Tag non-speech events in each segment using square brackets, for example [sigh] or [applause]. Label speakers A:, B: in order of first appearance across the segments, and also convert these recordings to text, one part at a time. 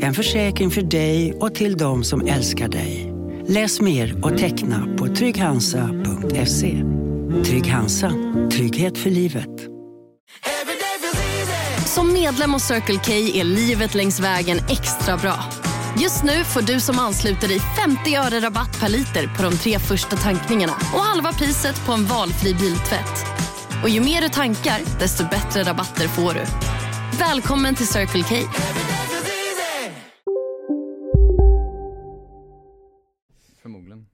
A: En försäkring för dig och till de som älskar dig. Läs mer och teckna på trygghansa.se. Trygg Hansa, trygghet för livet.
B: Som medlem hos Circle K är livet längs vägen extra bra. Just nu får du som ansluter dig 50 öre rabatt per liter på de tre första tankningarna och halva priset på en valfri biltvätt. Och ju mer du tankar, desto bättre rabatter får du. Välkommen till Circle K.
C: Förmodligen.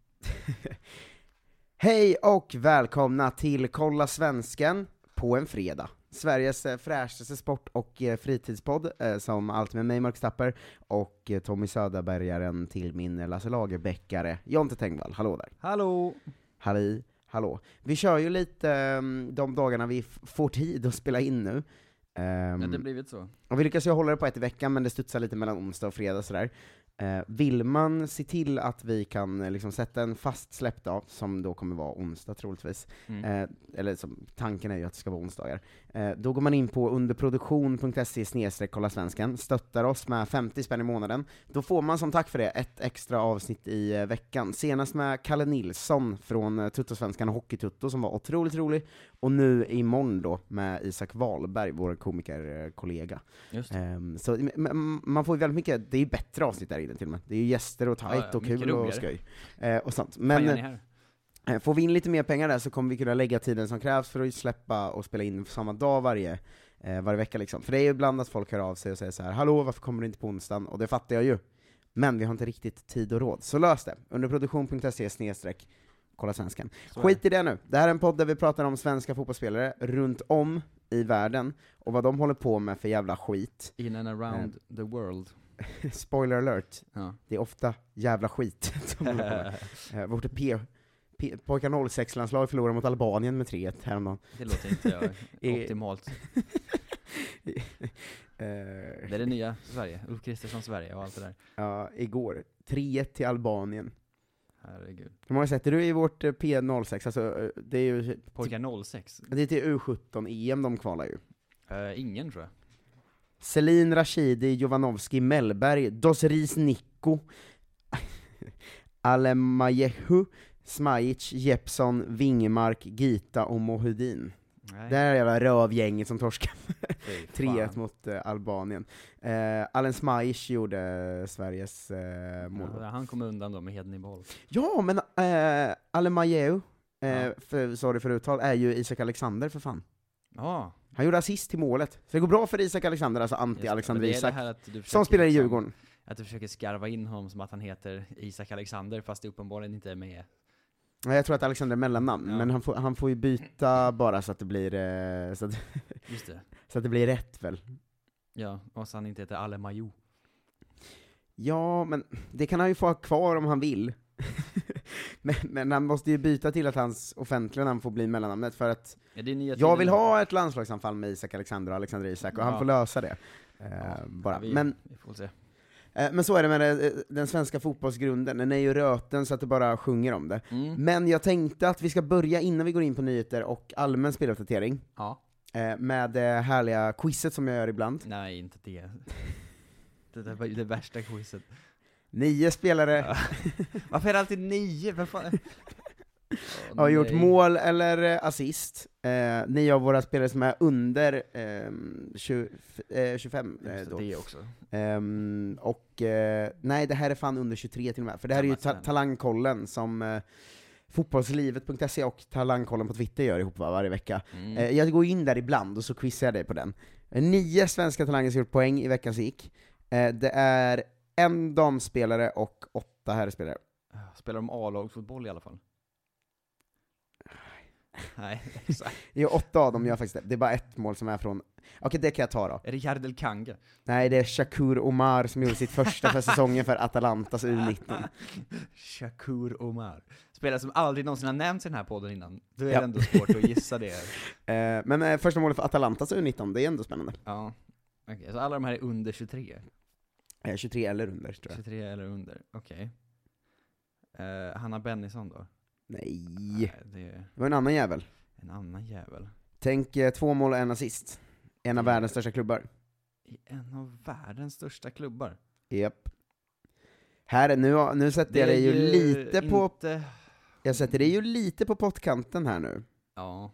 D: Hej och välkomna till Kolla Svensken på en fredag. Sveriges eh, fräschaste sport och eh, fritidspodd, eh, som alltid med mig Mark Stapper, och eh, Tommy Söderbergaren till min eh, Lasse Lagerbäckare, Jonte Tengvall. Hallå där.
C: Hallå!
D: Halli, hallå. Vi kör ju lite ehm, de dagarna vi f- får tid att spela in nu. Ehm,
C: Ja, det har blivit så.
D: och vi lyckas ju hålla det på ett i veckan, men det studsar lite mellan onsdag och fredag sådär. Eh, vill man se till att vi kan eh, liksom, sätta en fast släppdag, som då kommer vara onsdag troligtvis, eh, eller som, tanken är ju att det ska vara onsdagar, eh, då går man in på underproduktion.se snedstreck kolla svensken, stöttar oss med 50 spänn i månaden. Då får man som tack för det ett extra avsnitt i eh, veckan, senast med Kalle Nilsson från eh, Tuttosvenskan och Hockeytutto som var otroligt rolig, och nu imorgon då med Isak Wahlberg, vår eh, komikerkollega.
C: Just det.
D: Ehm, så m- m- man får ju väldigt mycket, det är ju bättre avsnitt där inne till och med. Det är ju gäster och tajt
C: Ja, ja,
D: och
C: mycket
D: kul och
C: roligare.
D: skoj. Eh, och sånt.
C: Fan,
D: Men
C: gör ni här?
D: eh, får vi in lite mer pengar där så kommer vi kunna lägga tiden som krävs för att släppa och spela in samma dag varje, eh, varje vecka liksom. För det är ju ibland att folk hör av sig och säger så här: hallå varför kommer du inte på onsdagen? Och det fattar jag ju. Men vi har inte riktigt tid och råd, så lös det. Under produktion.se snedstreck Kolla svenskan. Skit i det nu. Det här är en podd där vi pratar om svenska fotbollsspelare runt om i världen, och vad de håller på med för jävla skit.
C: In and around
D: Eh.
C: the world.
D: spoiler alert,
C: Ja.
D: det är ofta jävla skit [laughs] som
C: [laughs]
D: de kommer. Eh, Vårt P- P- pojkarna 06-landslag förlorade mot Albanien med 3-1 häromdagen. [laughs]
C: Det låter inte
D: I-
C: jag, optimalt.
D: Eh,
C: Det är det nya Sverige. Ulf Kristersson Sverige och allt det där.
D: Ja, igår. 3-1 till Albanien.
C: Herregud.
D: Hur många sätter du i vårt eh, P06? Alltså, eh, det är ju
C: Pojkar 06?
D: det är till U17-EM de kvalar ju.
C: Eh, ingen tror jag.
D: Selin Rashidi, Jovanovski, Mellberg, Dosris [laughs] Nikko, Alemajehu, Smajic, Jeppson, Wingemark, Gita och Mohudin.
C: Nej,
D: Det här jävla rövgänget som [laughs] torskade
C: fy fan.
D: 3-1 mot eh, Albanien. Eh, Alen Smajic gjorde eh, Sveriges eh, mål.
C: Ja, han kom undan då med heden i behåll.
D: Ja, men eh, Alen Majeu, eh,
C: Ja.
D: för, sorry för uttal, är ju Isak Alexander för fan.
C: Ja,
D: Han gjorde assist till målet. Så det går bra för Isak Alexander, alltså
C: just det.
D: anti-Alexander
C: Men det är det
D: Isak,
C: här att du försöker
D: som spelar i
C: liksom-
D: Djurgården.
C: Att du försöker skarva in honom som att han heter Isak Alexander, fast det uppenbarligen inte är med.
D: Nej, Jag tror att Alexander är mellannamn,
C: Ja.
D: men han får, han får ju byta bara så att det blir, eh, så att,
C: Just det.
D: så att det blir rätt väl.
C: Ja, och så han inte heter Alemajo.
D: Ja, men det kan han ju få ha kvar om han vill. [laughs] men, men han måste ju byta till att hans offentliga namn får bli mellannamnet, för att
C: Ja, det är nya
D: jag
C: tider
D: vill
C: nu.
D: ha ett landslagsanfall med Isak Alexander och Alexander Isak, och han
C: Ja.
D: får lösa det. Eh,
C: Ja,
D: bara.
C: vi,
D: Men,
C: vi får se.
D: eh, men så är det med det, eh, den svenska fotbollsgrunden, den är ju röten så att det bara sjunger om det.
C: Mm.
D: Men jag tänkte att vi ska börja, innan vi går in på nyheter och allmän speluppdatering,
C: Ja.
D: eh, med det härliga quizet som jag gör ibland.
C: Nej, inte det. [laughs] Det där var ju det värsta quizet.
D: Nio spelare
C: Varför är det alltid nio? Varför?
D: har gjort mål eller eh, assist. Eh, ni av våra spelare som är under ehm, 20, eh, 25 eh, då.
C: Det också.
D: Ehm, och eh, nej, det här är fan under 23 till och med, för det här är ju ta- Talangkollen som eh, fotbollslivet.se och Talangkollen på Twitter gör ihop va, varje vecka.
C: Mm.
D: Eh, jag går in där ibland och så quizar jag dig på den. Eh, Nio svenska talanger som gjort poäng i veckans gick. Eh, det är en damspelare och åtta herrspelare.
C: Spelar de A-lagsfotboll i alla fall? Nej, exakt.
D: Jo, åtta av dem gör faktiskt det. Det är bara ett mål som är från... Okej, det kan jag ta då.
C: Är det Jardel Kange?
D: Nej, det är Shakur Omar som gjorde sitt första för säsongen för
C: [laughs]
D: Atalantas U19.
C: Shakur Omar. Spelare som aldrig någonsin har nämnts i den här podden innan. Då är
D: Ja.
C: det ändå svårt att gissa det.
D: [laughs] Eh, men eh, första målet för Atalantas U19, det är ändå spännande.
C: Ja. Okej, så alla de här är under 23?
D: Eh, 23 eller under, tror jag.
C: 23 eller under, okej. Eh, Hanna Bennison då?
D: Nej,
C: Nej, det är
D: det var en annan jävel.
C: en annan jävel.
D: Tänk eh, två mål och en assist. En av
C: Mm.
D: världens största klubbar.
C: I en av världens största klubbar.
D: Japp. Här, nu, har- nu sätter jag dig ju lite på...
C: inte-
D: Jag sätter dig ju lite på pottkanten här nu.
C: Ja.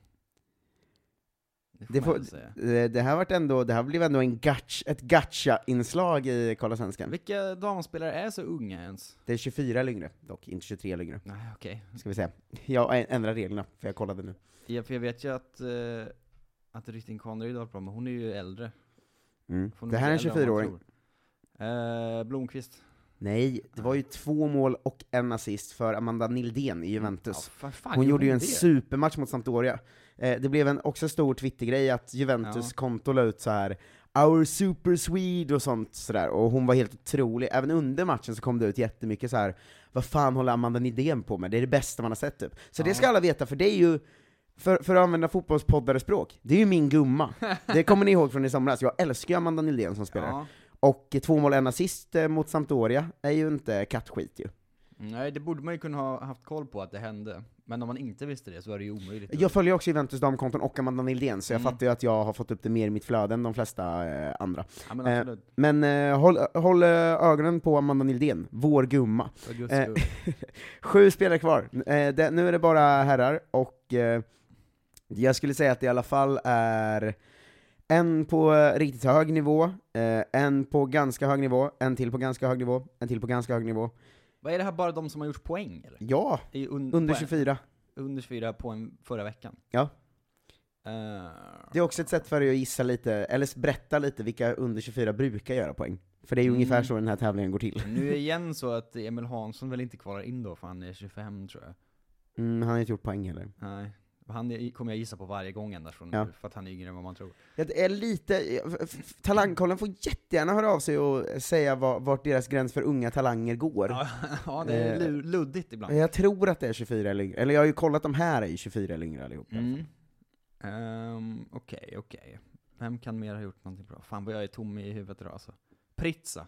C: Det får
D: Det
C: man
D: får-
C: ändå säga.
D: Eh, Det här, vart ändå, det här blev ändå en gatch, ett gacha-inslag i Kolla Svenskan.
C: Vilka damspelare är så unga ens?
D: Det är 24 längre, dock, inte 23 längre.
C: Nej, okej.
D: Ska vi säga. Jag ä- ändrar reglerna, för jag kollade nu.
C: Ja, för jag vet ju att, eh, att Rytting Conrad har varit bra, men hon är ju äldre.
D: Mm.
C: Hon
D: Det här är en
C: mycket äldre än man
D: 24-åring.
C: tror. Eh, Blomqvist.
D: Nej, det var ju två mål och en assist för Amanda Nildén i Juventus.
C: Ja, vad fan
D: Hon gjorde ju en
C: det?
D: supermatch mot Sampdoria. Eh, det blev en också stor Twittergrej att Juventus
C: Ja.
D: konto la ut så här Our Super Swede och sånt sådär, och hon var helt otrolig. Även under matchen så kom det ut jättemycket så här. vad fan håller Amanda Nidén på med? Det är det bästa man har sett typ. Så det
C: Ja.
D: ska alla veta, för det är ju, för, för att använda fotbollspoddare språk, det är ju
C: [laughs]
D: min gumma. Det kommer ni ihåg från i somras, jag älskar ju Amanda Nildén som spelare.
C: Ja.
D: Och eh, två mål en assist eh, mot Sampdoria är ju inte kattskit ju.
C: Nej, det borde man ju kunna ha haft koll på att det hände. Men om man inte visste det så var det ju omöjligt.
D: Jag följer också Juventus damkonton och Amanda Nildén, så jag
C: Mm.
D: fattar ju att jag har fått upp det mer i mitt flöde än de flesta eh, andra.
C: ja, men absolut.
D: Men eh, håll, håll eh, ögonen på Amanda Nildén, vår gumma.
C: För guds
D: eh,
C: skull.
D: Sju spelare kvar. Eh, det, nu är det bara herrar, och eh, jag skulle säga att det i alla fall är en på eh, riktigt hög nivå, eh, en på ganska hög nivå, en till på ganska hög nivå, en till på ganska hög nivå.
C: Vad är det här bara de som har gjort poäng eller?
D: Ja,
C: I un-
D: under
C: poäng.
D: 24.
C: under 24 på en förra veckan.
D: Ja.
C: Eh,
D: Det är också ett sätt för dig att gissa lite, eller berätta lite vilka under 24 brukar göra poäng. För det är ju
C: Mm.
D: ungefär så den här tävlingen går till.
C: nu är igen så att Emil Hansson väl inte kvalar in då, för han är 25 tror jag.
D: Mm, han har inte gjort poäng heller.
C: Nej. Han är, kommer jag gissa på varje gång ända från
D: Ja.
C: nu, för att han är yngre än vad man tror.
D: Jag är lite, f- f- Talangkollen får jättegärna höra av sig och säga var, vart deras gräns för unga talanger går.
C: Ja, [laughs] ja det
D: Eh,
C: är lu- luddigt ibland.
D: Jag tror att det är 24 eller yngre, eller jag har ju kollat de här är ju 24 eller yngre allihop.
C: Mm. Ehm, Okej, okej. Vem kan mer ha gjort någonting bra? Fan vad jag är tom i huvudet idag alltså. Pritsa.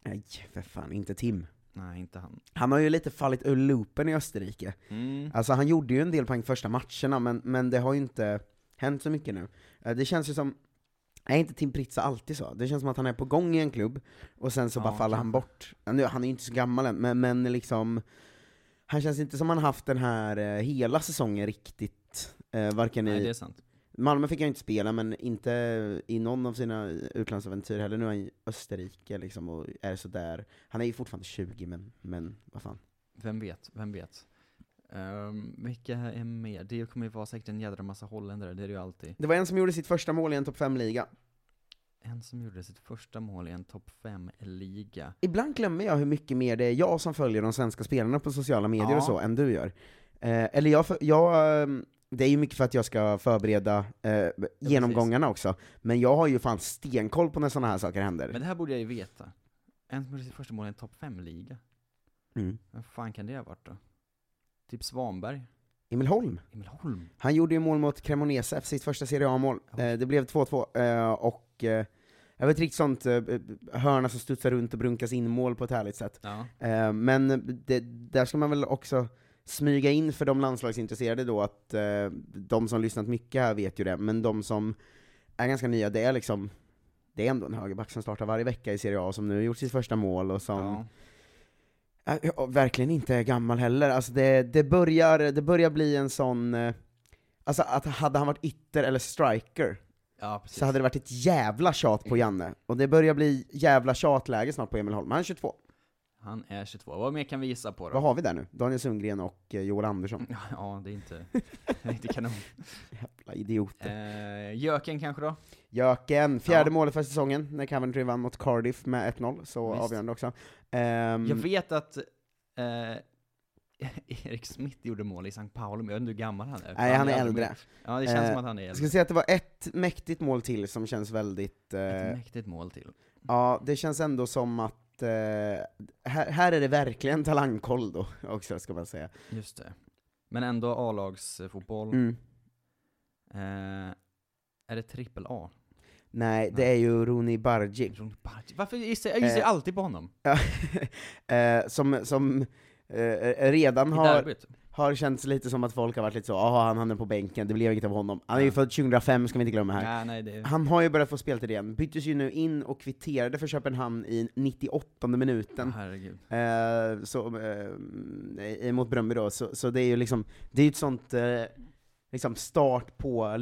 D: Nej, för fan, inte Tim.
C: Nej, inte han.
D: Han har ju lite fallit ur loopen i Österrike.
C: Mm.
D: Alltså han gjorde ju en del poäng första matcherna, men, men det har ju inte hänt så mycket nu. Eh, Det känns ju som, är inte Tim Pritsa alltid så? Det känns som att han är på gång i en klubb, och sen så
C: Ja,
D: bara faller han bort. Ja, Nu, han är ju inte så gammal än, men, men liksom, han känns inte som han haft den här eh, hela säsongen riktigt. Eh, varken
C: Nej, det
D: i,
C: är sant.
D: Malmö fick han ju inte spela, men inte i någon av sina utlandsäventyr heller. Nu är han i Österrike liksom, och är sådär. Han är ju fortfarande 20, men, men vad fan.
C: Vem vet, vem vet. Um, vilka är mer? Det kommer ju vara säkert en jädra massa holländare, det är det ju alltid.
D: Det var en som gjorde sitt första mål i en topp 5-liga.
C: En som gjorde sitt första mål i en topp 5-liga.
D: Ibland glömmer jag hur mycket mer det är jag som följer de svenska spelarna på sociala medier
C: Ja.
D: och så, än du gör. Eh, eller jag, för- jag, ehm, det är ju mycket för att jag ska förbereda eh, genomgångarna också, men jag har ju fan stenkoll på när sådana här saker händer.
C: Men det här borde jag ju veta. En som gjorde sitt första mål i en topp 5-liga.
D: Mm.
C: Vem fan kan det ha varit då? Typ Svanberg?
D: Emil Holm,
C: Emil Holm?
D: han gjorde ju mål mot Cremonese, sitt första Serie A-mål. Eh, det blev 2-2, eh, och eh, det var ett riktigt sånt eh, hörna som studsar runt och brunkas in mål på ett härligt sätt.
C: Ja.
D: Eh, Men det, där ska man väl också smyga in för de landslagsintresserade då att eh, de som lyssnat mycket här vet ju det, men de som är ganska nya, det är liksom det är ändå en högerback som startar varje vecka i Serie A, som nu har gjort sitt första mål och som
C: ja.
D: eh, och verkligen inte är gammal heller. Alltså det, det, börjar, det börjar bli en sån... eh, Alltså att hade han varit ytter eller striker,
C: Ja, precis.
D: så hade det varit ett jävla tjat på Janne. Och det börjar bli jävla tjatläge snart på Emil Holm. Han är 22.
C: Han är 22. Vad mer kan vi gissa på då?
D: Vad har vi där nu? Daniel Sundgren och eh, Joel Andersson.
C: [laughs] Ja, det är inte, det är inte
D: [laughs]
C: kanon.
D: Jävla idioter.
C: Eh, Jöken kanske då?
D: Jöken, fjärde
C: Ja.
D: målet för säsongen, när Coventry vann mot Cardiff med 1-0, så
C: Visst.
D: Mm. avgörande också. Ehm,
C: Jag vet att eh, [laughs] Erik Smith gjorde mål i St. Pauli, men jag vet inte hur gammal han är.
D: Nej, han är
C: aldrig
D: äldre.
C: med. Ja, det känns
D: Eh,
C: som att han är
D: Jag skulle
C: äldre.
D: säga att det var ett mäktigt mål till som känns
C: Ett
D: väldigt... Eh,
C: mäktigt mål till.
D: ja, det känns ändå som att... Eh, här, här är det verkligen talangkoll då, [laughs] också ska man säga.
C: Just det. Men ändå A-lagsfotboll.
D: Mm.
C: Eh, är det trippel A?
D: Nej, det är ju Rooney Bargic.
C: Ron Bardi. Varför gissar jag, jag gissar
D: Eh,
C: alltid på honom?
D: [laughs] eh, som som eh, redan
C: I
D: har,
C: derbyt.
D: har känts lite som att folk har varit lite så, jaha han hamnade på bänken, det blev inget av honom. Han är ju
C: Ja.
D: född 2005, ska vi inte glömma
C: Nej,
D: här.
C: nej, det är...
D: Han har ju börjat få speltid igen, byttes ju nu in och kvitterade för Köpenhamn i 98 minuten.
C: Herregud.
D: Eh, så, eh, eh, mot Bröndby då, så, så det är ju liksom, det är ju ett sånt eh, liksom start på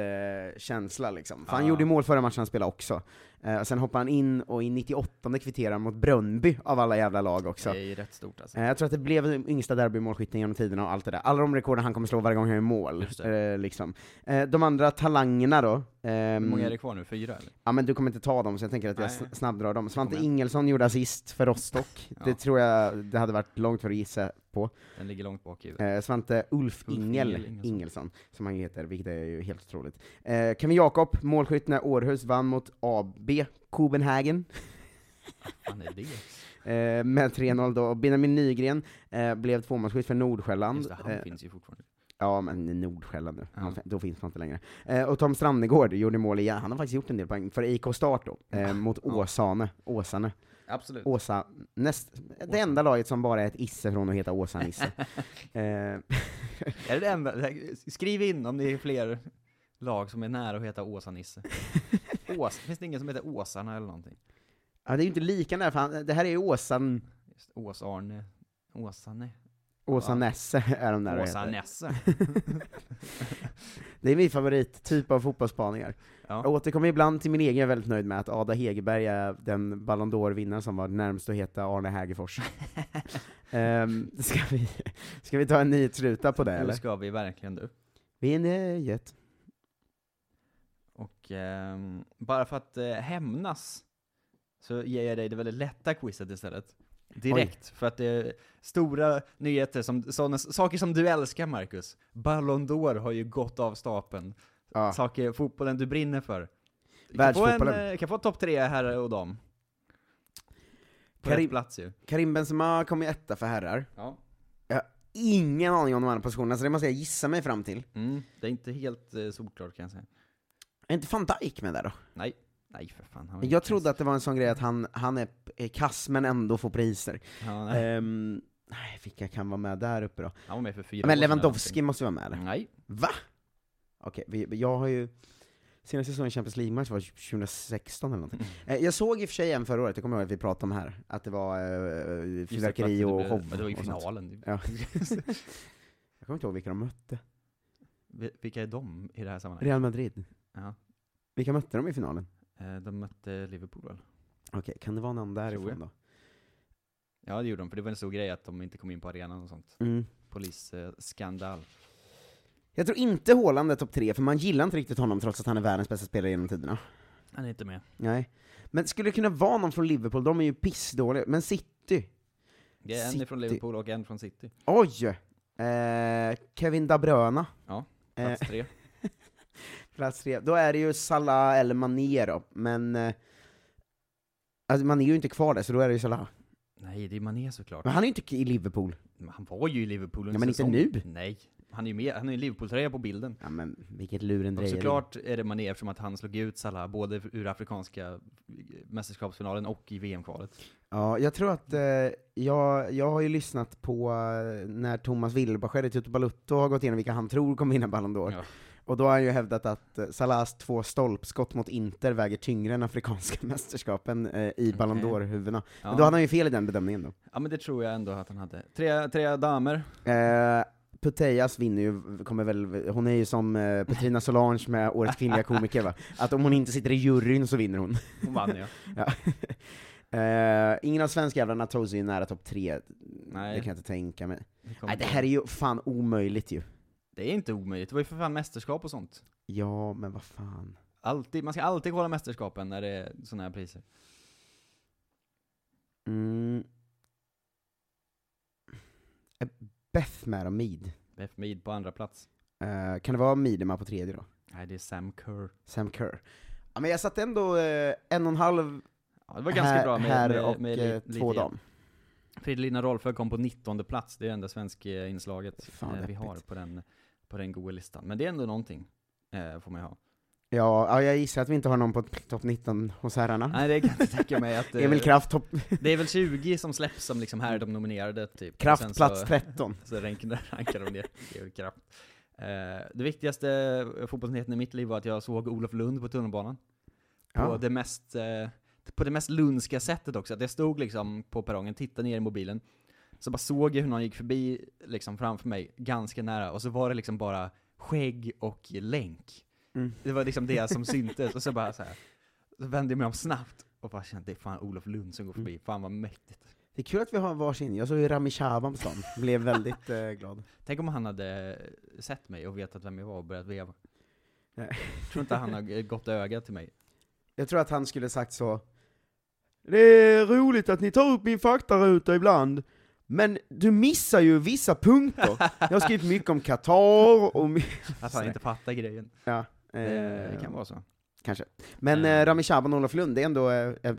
D: legend-känsla liksom. För han
C: Ja.
D: gjorde ju mål förra matchen han spelade också. Eh, och sen hoppar han in och i 98 kvitterar han mot Bröndby av alla jävla lag också.
C: Det är ju rätt stort alltså.
D: Eh, Jag tror att det blev den yngsta derbymålskytten genom tiderna och allt det där. Alla de rekorden han kommer slå varje gång han gör mål.
C: Just
D: Eh, liksom. eh, de andra talangerna då.
C: Hur
D: ehm,
C: många är det kvar nu? Fyra eller?
D: Ja men du kommer inte ta dem, så jag tänker att jag
C: Nej.
D: sn- snabbdrar dem. Svante
C: Kom igen.
D: Ingelsson gjorde assist för Rostock,
C: Ja.
D: det tror jag det hade varit långt för att gissa på.
C: Den ligger långt bak i huvudet.
D: Eh, Svante Ulf,
C: Ulf
D: Ingel,
C: Ingel Ingelsson.
D: Ingelsson, som han heter, vilket är ju helt otroligt. Eh, Kevin Jakob, målskytt när Århus vann mot AB Copenhagen
C: Fan är det?
D: eh, med 3-0 då, och Benjamin Nygren eh, blev tvåmålsskytt för Nordsjälland.
C: Just det, han
D: Eh,
C: finns ju fortfarande.
D: Ja, men Nordsjälland nu. Han,
C: Ja.
D: Då finns man inte längre. Eh, och Tom Strandegård gjorde mål igen. Han har faktiskt gjort en del poäng för IK Start då, eh, mot
C: Ja.
D: Åsane. Åsane.
C: Absolut.
D: [laughs] Åsa, näst, det enda laget som bara är ett isse från att
C: [laughs]
D: heta Åsa-Nisse. eh,
C: Är det det enda? det här- Skriv in om det är fler lag som är nära att heta
D: [laughs]
C: Åsa-Nisse. Åsa, finns det ingen som heter Åsarna eller någonting?
D: ja, det är ju inte lika nära, för han, det här är ju Åsan,
C: Just Ås-Arne, Åsane,
D: Åsa-Nesse [laughs] är de där och heter.
C: Åsa-Nesse.
D: Det är min favorittyp av fotbollsspaningar. Jag
C: Ja.
D: återkommer ibland till min egen, jag är väldigt nöjd med att Ada Hegerberg är den Ballon d'Or-vinnaren som var närmst att heta Arne Hägerfors. Ehm, ska, vi, ska vi ta en nyhetsruta på det
C: Nu
D: eller?
C: ska vi verkligen du.
D: Vi är nöjet.
C: Och ehm, bara för att eh, hämnas så ger jag dig det väldigt lätta quizet istället. Direkt, för att det är stora nyheter, som, såna, saker som du älskar Marcus. Ballon d'Or har ju gått av stapeln.
D: Ja.
C: Saker, fotbollen du brinner för. Du kan få en,
D: Världsfotbollen.
C: eh, kan få topp tre herrar och dam. På
D: Karim-
C: rätt plats ju.
D: Karim Benzema kom ju etta för herrar.
C: Ja.
D: Jag har ingen aning om de andra positionerna, så det måste jag gissa mig fram till.
C: Mm, det är inte helt eh, solklart kan jag säga.
D: Är inte van Dijk med där då?
C: Nej, nej för fan. han var ju
D: Jag
C: kass.
D: trodde att det var en sån grej att han, han är är kass men ändå får priser.
C: Ja, nej,
D: Ehm, nej, vilka kan vara med där uppe då?
C: han var med för fyra år
D: Men
C: sedan eller
D: Lewandowski måste vara med eller?
C: någonting. Mm. Nej,
D: Va? Okej, vi- jag har ju... Senaste säsongen i Champions League-match var 2016 eller någonting.
C: Mm.
D: Eh, Jag såg i och för sig en förra året, det kommer jag ihåg att vi pratade om här, att det var eh,
C: Just det, för att
D: fyrverkeri
C: det
D: och
C: blev-
D: show
C: men Det var ju
D: och sånt.
C: finalen. [laughs]
D: Ja. Jag kommer inte ihåg vilka de mötte.
C: Vi- Vilka är de i det här sammanhanget?
D: Real Madrid.
C: Ja.
D: Vilka mötte de i finalen?
C: Eh, De mötte Liverpool väl?
D: Okej, kan det vara någon därifrån
C: jag.
D: då?
C: Ja det gjorde de, för det var en stor grej att de inte kom in på arenan och sånt.
D: Mm.
C: Polisskandal.
D: Jag tror inte Haaland är topp tre, för man gillar inte riktigt honom trots att han är världens bästa spelare genom tiderna.
C: Han är inte med.
D: Nej. Men skulle det kunna vara någon från Liverpool? De är ju pissdåliga. Men City?
C: Det är en
D: City.
C: från Liverpool och en från City.
D: Oj! Eh, Kevin Da Bruyne.
C: Ja,
D: Eh.
C: plats tre.
D: Plats tre. Då är det ju Salah eller Mané då, men... Eh, alltså man är ju inte kvar där, så då är det ju Salah.
C: Nej, det är Mané såklart.
D: Men han är ju inte k- i Liverpool.
C: Men Han var ju i Liverpool under
D: Ja, men inte
C: säsongen.
D: nu.
C: Nej. Han är ju med, han är i Liverpool-tröja på bilden.
D: Ja men vilket
C: Och
D: lurendrejeri.
C: såklart är det Mané eftersom att han slog ut Salah både ur afrikanska mästerskapsfinalen och i VM-kvalet.
D: Ja, jag tror att eh, jag, jag har ju lyssnat på eh, när Thomas Wilbacher i Tutu Balutto har gått igenom vilka han tror kommer vinna Ballon d'Or.
C: Ja.
D: Och då har han ju hävdat att eh, Salahs två stolpskott mot Inter väger tyngre än afrikanska [laughs] mästerskapen eh, i Ballon
C: Okej.
D: d'Or-huvudena. Men
C: Ja.
D: då hade han ju fel i den bedömningen då.
C: ja, men det tror jag ändå att han hade. Tre, tre damer.
D: Eh, Putellas vinner ju, kommer väl, hon är ju som eh, Petrina Solange med Årets kvinnliga
C: [laughs]
D: komiker va? Att om hon inte sitter i juryn så vinner hon. [laughs]
C: Hon vann ja.
D: Ja. Eh, ingen av svenskjävlarna tog sig ju nära topp tre,
C: [laughs] Nej.
D: det kan jag inte tänka mig.
C: Det kom
D: Nej det
C: på.
D: här är ju fan omöjligt ju.
C: Det är inte omöjligt, det var ju för fan mästerskap och sånt.
D: Ja, men vad fan.
C: Alltid, man ska alltid kolla mästerskapen när det är sådana här priser.
D: Mm. Eh, Bethmer och Mead.
C: Beth Mead på andra plats.
D: Eh, kan det vara Midema på tredje då?
C: Nej, det är Sam Kerr.
D: Sam Kerr. Ja, men jag satte ändå eh, en och en halv
C: Ja, det var ganska
D: här,
C: bra med,
D: här
C: med,
D: och
C: med
D: eh,
C: li- lite
D: två
C: hjälp.
D: dam.
C: Fridolina Rolfö kom på 19 plats, det är det enda svenska inslaget
D: Fan,
C: eh, vi
D: deppigt.
C: har på den, på den goa listan. Men det är ändå någonting, eh, får man ju ha.
D: Ja, ja, jag gissar att vi inte har någon på topp 19 hos herrarna.
C: Nej, det kan jag inte tänka mig att... eh,
D: [laughs] Emil Kraft, topp,
C: det är väl 20 som släpps som liksom här är de nominerade, typ. Och sen
D: Kraft
C: så-
D: plats 13.
C: Så [laughs] rankar, rankar de ner Emil Kraft. Eh, det viktigaste eh, fotbollsnyheten i mitt liv var att jag såg Olof Lund på tunnelbanan. På,
D: Ja.
C: det mest, eh, på det mest lunska sättet också. Att jag stod liksom på perrongen, tittade ner i mobilen, så bara såg jag hur någon gick förbi liksom framför mig, ganska nära, och så var det liksom bara skägg och länk.
D: Mm.
C: Det var liksom
D: [laughs]
C: det som syntes, och så bara så här. Så vände jag mig om snabbt och bara kände det är fan Olof Lund som går förbi, fan vad mäktigt.
D: Det är kul att vi har varsin. Jag såg ju Rami Shaban på stan, blev väldigt eh, glad.
C: Tänk om han hade sett mig och vetat vem jag var och börjat veva.
D: Nej.
C: Tror inte han har eh, gått öga till [laughs] mig.
D: Jag tror att han skulle sagt så. Det är roligt att ni tar upp min faktaruta ibland, men du missar ju vissa
C: [laughs]
D: punkter. Jag har skrivit mycket om Qatar och... my-
C: Att han inte fattar grejen.
D: Ja,
C: Det
D: eh,
C: kan vara så.
D: kanske. Men
C: Eh.
D: eh, Rami Shaban och Olof Lund, det är ändå eh, eh,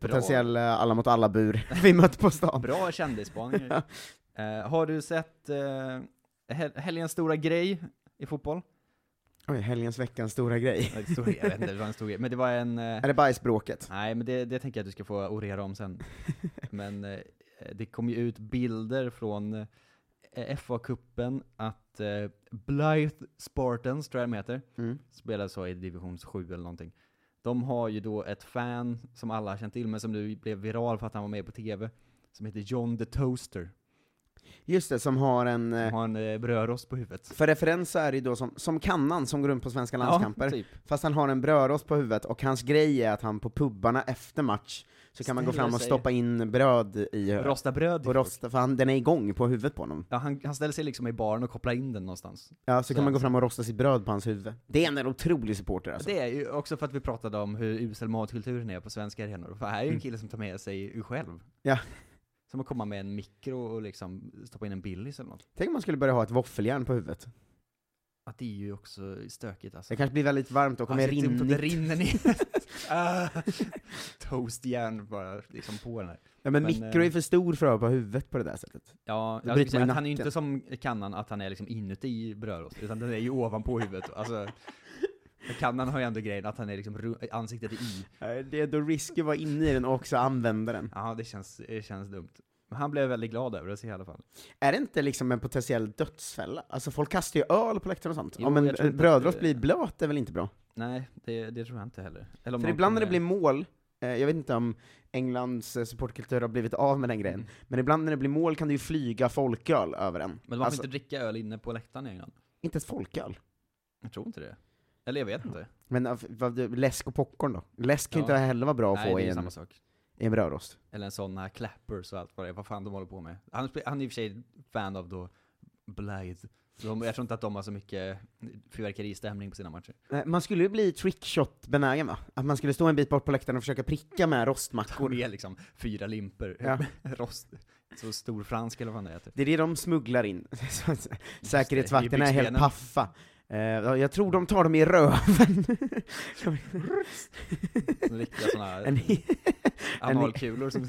D: potentiell eh, alla mot alla-bur [laughs] vi mötte på stan.
C: Bra kändisspaningar. [laughs] eh, har du sett eh, hel- helgens stora grej i [laughs] fotboll?
D: Oj, helgens veckans stora grej.
C: Nej, stor- Jag vet inte, det var en stor grej. Men det var en... Eh,
D: Är det bajsbråket?
C: nej, men det, det tänker jag att du ska få orera om [laughs] sen. Men eh, det kom ju ut bilder från eh, FA-cupen att eh, Blythe Spartans, tror jag de heter,
D: Mm.
C: spelar så i division 7 eller någonting. De har ju då ett fan som alla har känt till, men som nu blev viral för att han var med på TV, som heter John the Toaster.
D: Just det, som har en...
C: Som
D: eh,
C: har en eh, brödrost på huvudet.
D: För referens så är det ju då som, som kannan som går runt på svenska landskamper,
C: Ja, typ.
D: fast han har en brödrost på huvudet, och hans grej är att han på pubbarna efter match så kan man gå
C: Ställer
D: fram och
C: sig-
D: stoppa in bröd i huvudet.
C: Rosta bröd.
D: Och rosta, för han, den är igång på huvudet på honom.
C: Ja, han, han ställer sig liksom i baren och kopplar in den någonstans.
D: Ja, så,
C: Så.
D: kan man gå fram och rosta sitt bröd på hans huvud. Det är en otrolig supporter alltså.
C: Det är ju också för att vi pratade om hur usel matkulturen är på svenska arenor. För här är ju en kille som tar med sig själv.
D: Mm. Ja.
C: Som att komma med en mikro och liksom stoppa in en Billys eller något.
D: Tänk om man skulle börja ha ett våffeljärn på huvudet.
C: Att det är ju också stökigt alltså.
D: Det kanske blir väldigt varmt och kommer
C: Alltså, det är inte-
D: rinnigt.
C: det rinner ner. Ah, [laughs]
D: [laughs]
C: Toastjärn bara liksom på den här.
D: Ja, men,
C: men,
D: mikro är
C: eh,
D: för stor för att ha på huvudet på det där sättet.
C: Ja,
D: Då
C: jag
D: bryter
C: skulle säga
D: man ju
C: att han är ju
D: nacken.
C: inte som kannan, att han är liksom inuti brödrost, utan den är ju ovanpå huvudet. Alltså, kannan har ju ändå grejen att han är liksom ru- ansiktet är i.
D: Nej, Det är då risken att vara inne i den och också använda den.
C: Ja, det känns, det känns dumt. Men han blev väldigt glad över det så i alla fall.
D: Är det inte liksom en potentiell dödsfälla? Alltså folk kastar ju öl på läktaren och sånt.
C: Jo,
D: Om en
C: jag tror inte
D: brödrost
C: att det-
D: blir blöt är väl inte bra?
C: Nej, det, det tror jag inte heller. Eller om
D: För
C: någon
D: ibland när det
C: kommer-
D: blir mål, eh, jag vet inte om Englands eh, supportkultur har blivit av med den grejen,
C: Mm.
D: men ibland när det blir mål kan det ju flyga folköl över en.
C: Men varför
D: alltså,
C: inte dricka öl inne på läktaren i England?
D: inte ett folköl.
C: Jag tror inte det. Eller jag vet inte.
D: Men eh, vad- läsk och popcorn då? Läsk kan ju
C: Ja.
D: inte heller vara bra att
C: Nej,
D: få
C: det är
D: i
C: ju
D: en,
C: samma sak.
D: i en brödrost.
C: Eller en sån här clappers och allt vad det är. Vad fan de håller på med. Han, spe- han är i och för sig fan av då Blythe. Så De, jag tror inte att de har så mycket fyrverkeristämning på sina matcher.
D: Nej, Eh, Man skulle ju bli trickshot-benägen va? Att man skulle stå en bit bort på läktaren och försöka pricka med
C: Går
D: rostmackor.
C: ner liksom fyra limper
D: Ja.
C: [laughs] rost. Så stor fransk eller vad han heter.
D: Det är det de smugglar in. [laughs] Så att [laughs] Säkerhetsvakterna
C: det,
D: är
C: i
D: helt
C: byxbenen.
D: paffa. Eh, ja, jag tror de tar dem
C: [laughs]
D: i röven. [laughs]
C: Som Riktiga såna
D: En
C: här
D: hel
C: analkulor som...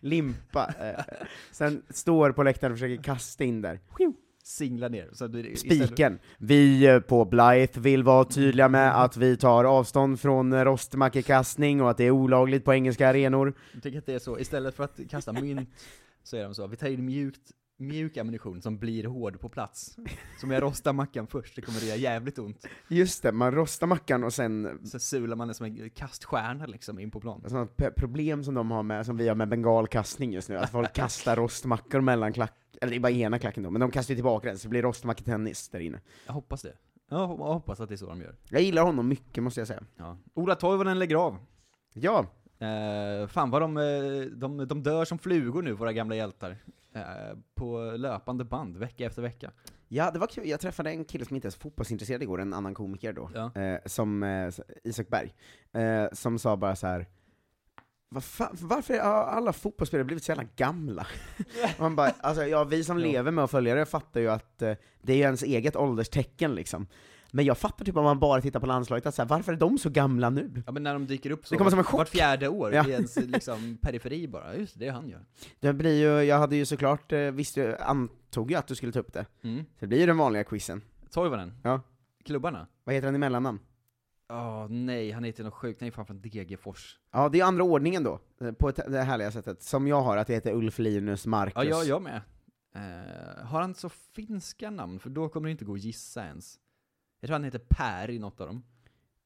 D: limpa. Eh, sen står på läktaren och försöker kasta in där.
C: singlar ner. Så det, istället-
D: Spiken. Vi eh, på Blythe vill vara tydliga med att vi tar avstånd från eh, rostmackekastning och att det är olagligt på engelska arenor.
C: Jag tycker att det är så, istället för att kasta mynt så är de så, vi tar in mjukt, mjuk ammunition som blir hård på plats. Så om jag rostar mackan först, det kommer det göra jävligt ont.
D: Just det, man rostar mackan och sen
C: Så sular man den som en kaststjärna liksom in på plan.
D: sådana p- problem som de har med, som vi har med bengalkastning just nu, att folk kastar rostmackor mellan klack, eller det är bara ena klacken då, men de kastar ju tillbaka den så det blir rostmacketennis där inne.
C: Jag hoppas det. Jag hop- jag hoppas att det är så de gör.
D: Jag gillar honom mycket måste jag säga.
C: Ja. Ola Toivonen lägger av.
D: Ja,
C: Eh, fan vad de, eh, de, de dör som flugor nu, våra gamla hjältar. Eh, på löpande band, vecka efter vecka.
D: ja det var kul, jag träffade en kille som inte ens är fotbollsintresserad igår, en annan komiker då,
C: Ja.
D: eh, som, eh, Isak Berg, eh, som sa bara så här. vad fan, varför har alla fotbollsspelare blivit så jävla gamla? Man bara, alltså, ja, vi som lever med att följa det fattar ju att eh, det är ju ens eget ålderstecken liksom. Men jag fattar typ om man bara tittar på landslaget, att så här, varför är de så gamla nu?
C: Ja men när de dyker upp så,
D: Det kommer som en
C: vart-
D: chock.
C: vart fjärde år
D: Ja.
C: i ens liksom, periferi bara, just det, det är han ju.
D: Det blir ju, jag hade ju såklart, eh, visste ju, antog ju att du skulle ta upp det.
C: Mm.
D: Så det blir ju den vanliga quizen.
C: Toivonen,
D: Ja.
C: klubbarna.
D: Vad heter han i mellannamn?
C: Åh nej, han heter något sjukt, han är fan från Degerfors.
D: Ja, det är andra ordningen då, eh, på ett- det härliga sättet, som jag har, att jag heter Ulf Linus Marcus.
C: Ja, jag, jag med. Eh, har han så finska namn? För då kommer det inte gå att gissa ens. Jag tror han heter Per i något av dem.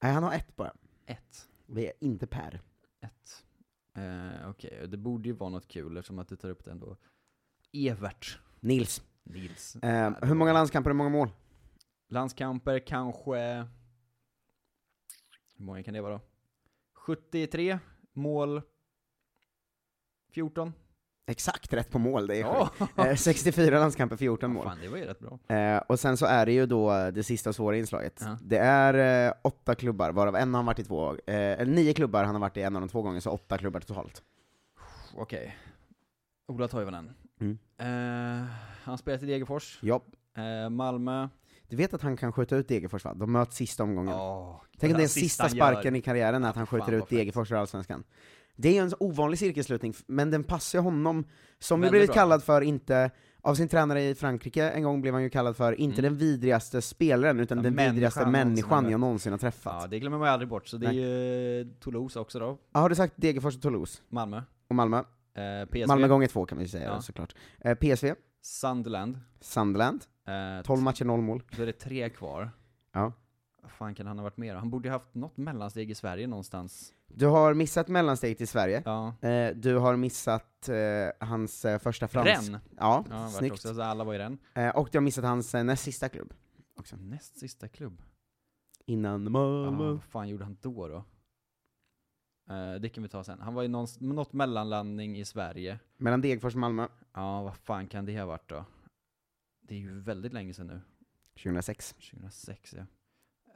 D: Nej, han har ett bara.
C: Ett.
D: Vi är inte Per.
C: Ett. Eh, Okej, det borde ju vara något kul eftersom att du tar upp det ändå. Evert
D: Nils.
C: Nils.
D: Eh, hur många landskamper, hur många mål?
C: Landskamper kanske... Hur många kan det vara då? 73 mål. 14?
D: Exakt rätt på mål, det är sjukt.
C: Ja! [laughs]
D: Eh, 64 landskamper, 14 mål.
C: Fan, det var ju rätt bra.
D: Eh, och sen så är det ju då eh, det sista och svåra inslaget.
C: Ja.
D: Det är eh, åtta klubbar, varav en har han varit i två, eh, eller nio klubbar, han har varit i en av dem två gånger, så åtta klubbar totalt.
C: Okej. Ola Toivonen.
D: Mm.
C: Eh, han spelar i Degerfors.
D: Ja.
C: Eh, Malmö.
D: Du vet att han kan skjuta ut Degerfors va? De möts sista omgången.
C: Ja.
D: Tänk om det är sista
C: han gör.
D: sparken i karriären, att
C: Fan,
D: han skjuter
C: vad
D: ut
C: fett.
D: Degerfors ur Allsvenskan. Det är ju en ovanlig cirkelslutning, f- men den passar ju honom, som ju
C: Väldigt
D: blivit
C: bra.
D: kallad för, inte, av sin tränare i Frankrike en gång blev han ju kallad för, inte
C: Mm.
D: den vidrigaste spelaren, utan
C: Den
D: den
C: människan
D: vidrigaste
C: någonsin
D: människan
C: har
D: jag någonsin har träffat.
C: Ja, det glömmer man ju aldrig bort. Så det är ju Toulouse också då.
D: Ja, har du sagt Degerfors och Toulouse?
C: Malmö.
D: Och Malmö?
C: Eh, PSV.
D: Malmö gånger två kan vi ju säga
C: Ja.
D: då, såklart. Eh, PSV,
C: Sunderland.
D: Sunderland,
C: Eh,
D: 12 matcher, 0 mål.
C: Då är det tre kvar.
D: Ja.
C: Vad fan kan han ha varit med då? Han borde ju haft något mellansteg i Sverige någonstans.
D: Du har missat mellansteget i Sverige,
C: Ja.
D: eh, du har missat eh, hans eh, första fransk...
C: Rennes.
D: Ja,
C: Ja, han vart
D: snyggt.
C: också, så alla var i den.
D: Eh, och du har missat hans eh, näst sista klubb. Också.
C: Näst sista klubb.
D: Innan
C: Ja,
D: mamma...
C: vad fan gjorde han då då? Eh, det kan vi ta sen. Han var i någon, något mellanlandning i Sverige.
D: Mellan Degerfors och Malmö,
C: Ja, vad fan kan det ha varit då? Det är ju väldigt länge sedan nu.
D: 2006.
C: 2006 ja.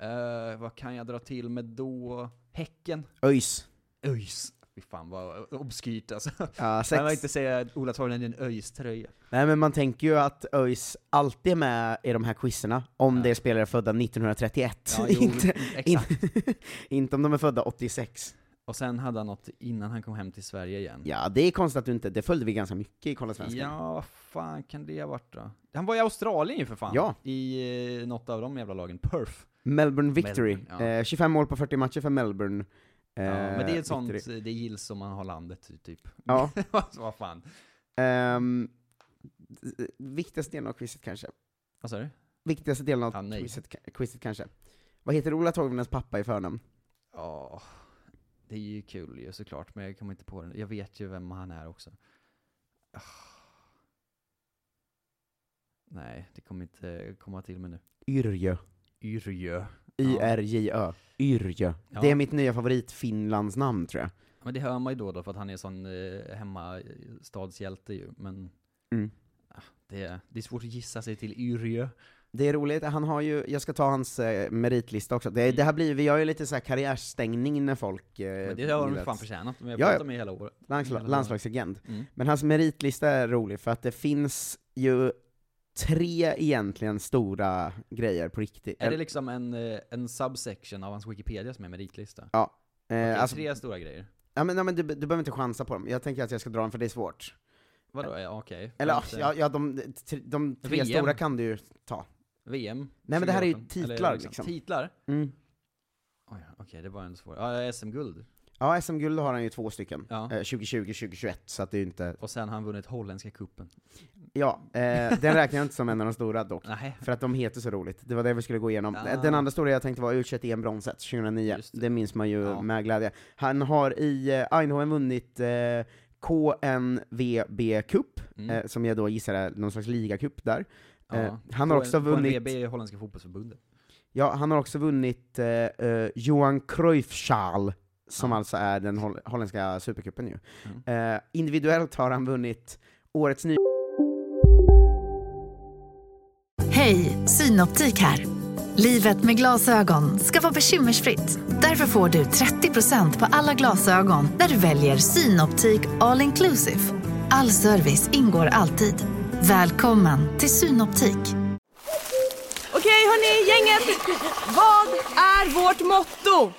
C: Eh, vad kan jag dra till med då? Häcken?
D: ÖIS.
C: ÖIS! Fy fan vad obskyrt alltså.
D: Ja,
C: Man vill
D: sex.
C: inte säga Ola Toivonen i en ÖIS-tröja.
D: Nej men man tänker ju att ÖIS alltid är med i de här quizerna, om
C: Ja.
D: det är spelare födda 1931.
C: Ja, jo,
D: [laughs] inte, in,
C: exakt.
D: inte om de är födda 86.
C: Och sen hade han något innan han kom hem till Sverige igen.
D: Ja, det är konstigt att du inte, det följde vi ganska mycket i Kolla Svenskan.
C: Ja, vad fan kan det ha varit då? Han var i Australien ju för fan!
D: Ja.
C: I eh, något av de jävla lagen, Perth.
D: Melbourne Victory.
C: Melbourne, ja.
D: eh, 25 mål på 40 matcher för Melbourne. Eh,
C: Ja, men det är ett sånt,
D: Victory.
C: eh, det gills om man har landet typ.
D: Ja.
C: [laughs] Alltså, vad fan.
D: Ehm, viktigaste delen av quizet kanske.
C: Vad sa du?
D: Viktigaste delen av
C: Ah, nej.
D: quizet, ka- quizet kanske. Vad heter Ola Toivonens pappa i förnamn?
C: Ja, det är ju kul ju såklart, men jag kommer inte på den. Jag vet ju vem han är också. Ah. Nej, det kommer inte komma till mig nu.
D: Yrjö.
C: Yrjö.
D: Y-R-J-Ö. Yrjö.
C: Ja.
D: Det är mitt nya favorit Finlandsnamn tror jag.
C: Men det hör man ju då, och då för att han är sån eh, hemmastadshjälte ju, men
D: Mm. Eh,
C: ah, det, det är svårt att gissa sig till Yrjö.
D: Det är roligt, han har ju, jag ska ta hans eh, meritlista också. Det,
C: Mm.
D: det här blir, vi gör ju lite så här karriärstängning när folk... Eh,
C: Men det har de
D: gillar
C: ju fan
D: att-
C: förtjänat, de har
D: Ja, ja.
C: pratat med hela året.
D: Landsla- landslagsagent.
C: Mm.
D: Men hans meritlista är rolig för att det finns ju tre egentligen stora grejer på riktigt.
C: Är det liksom en, eh, en subsection av hans Wikipedia som är meritlista?
D: Eh,
C: Okej,
D: alltså,
C: tre stora grejer.
D: ja, men, ja, men du, du behöver inte chansa på dem, jag tänker att jag ska dra dem för det är svårt.
C: Vadå? Ja, Okej.
D: Eller
C: Femte.
D: ja, ja de, de, de tre
C: VM.
D: stora kan du ju ta.
C: VM?
D: Nej, men det här är ju
C: 2018, eller
D: titlar, liksom.
C: Titlar?
D: Mm.
C: Oj, okej, det var en svår. Ja, SM-guld.
D: Ja, SM-guld har han ju två stycken.
C: Ja.
D: Eh, 2020, 2021, så att det är ju inte...
C: Och sen har han vunnit holländska kuppen.
D: Ja, eh, den räknar jag inte som en av de stora dock.
C: Nej.
D: För att de heter så roligt, det var det vi skulle gå igenom.
C: Ah.
D: Den andra stora jag tänkte var u em bronset 2009,
C: Just
D: det.
C: det.
D: minns man ju
C: Ja.
D: med glädje. Han har i eh, Eindhoven vunnit eh, KNVB Cup,
C: Mm.
D: eh, som jag då gissar är någon slags ligacup där. eh, han har
C: På en-
D: också vunnit-
C: På en VB i holländska fotbollsförbundet.
D: Ja, han har också vunnit eh, eh, Johan Cruyff-Schal, som
C: Ja.
D: alltså är den hol- holländska supercupen ju.
C: Mm.
D: Eh, individuellt har han vunnit Årets ny...
E: Hej, Synoptik här. Livet med glasögon ska vara bekymmersfritt. Därför får du 30% på alla glasögon när du väljer Synoptik All Inclusive. All service ingår alltid. Välkommen till Synoptik.
F: Okej hörni, gänget! Vad är vårt motto?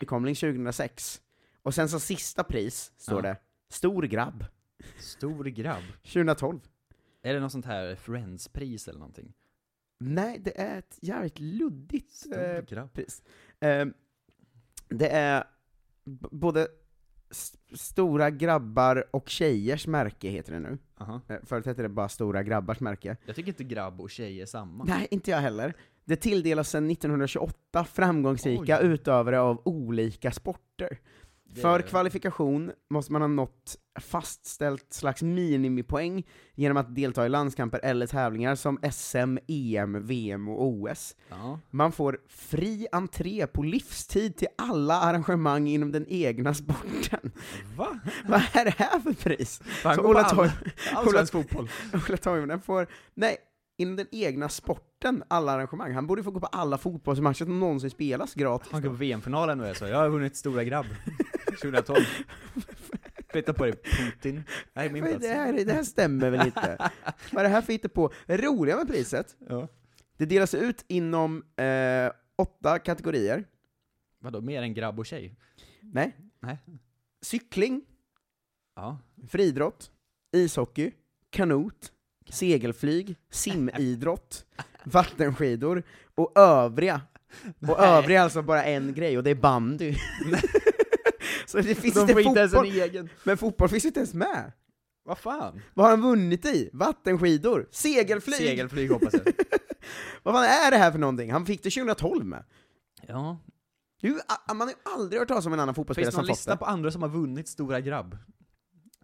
D: Nykomling 2006. Och sen som sista pris, står
C: Ja.
D: det, stor grabb.
C: Stor grabb.
D: 2012.
C: Är det något sånt här Friends-pris eller någonting?
D: Nej, det är ett jävligt luddigt eh,
C: Stor grabb.
D: pris. Eh, det är b- både s- stora grabbar och tjejers märke heter det nu.
C: Aha.
D: Eh, Förut hette det bara stora grabbars märke.
C: Jag tycker inte grabb och tjej är samma.
D: [laughs] Nej, inte jag heller. Det tilldelas sedan 1928 framgångsrika
C: Oj.
D: utövare av olika sporter.
C: Det-
D: För kvalifikation måste man ha nått fastställt slags minimipoäng genom att delta i landskamper eller tävlingar som E SM, EM, VM och OS.
C: Ja.
D: Man får fri entré på livstid till alla arrangemang inom den egna sporten.
C: Va?
D: Vad är det här för pris?
C: Fan,
D: Så
C: gå på
D: Ola
C: all-
D: Toiv-
C: Allsvensk fotboll.
D: [laughs] Ola Toivonen får, nej, inom den egna sporten, alla arrangemang. Han borde få gå på alla fotbollsmatcher som någonsin spelas gratis.
C: Han går på VM-finalen och jag sa jag har vunnit stora grabb. [laughs]
D: [laughs]
C: 2012. Flytta på dig Putin. Det här är min
D: Vad är
C: plats.
D: det, här, det här stämmer väl inte?
C: [laughs]
D: Vad är det här för hittepå? Det roliga med priset,
C: Ja.
D: det delas ut inom eh, åtta kategorier.
C: Vadå, mer än grabb och tjej?
D: Nej.
C: Nej.
D: Cykling,
C: Ja.
D: friidrott, ishockey, kanot, segelflyg,
C: [laughs]
D: simidrott, vattenskidor och övriga. Och övriga är alltså bara en grej, och det
C: [laughs]
D: är bandy. Så det finns
C: De
D: inte
C: får inte ens en
D: fotboll,
C: egen.
D: men fotboll finns inte ens med.
C: Vad fan?
D: Vad har han vunnit i? Vattenskidor, segelflyg!
C: Segelflyg hoppas
D: [laughs]
C: jag.
D: Vad fan är det här för någonting? Han fick det 2012 med.
C: Ja.
D: Hur, a- man har ju aldrig hört talas om en annan
C: Finns
D: fotbollsspelare
C: det någon
D: som fått
C: lista
D: det.
C: på andra som har vunnit stora grabb?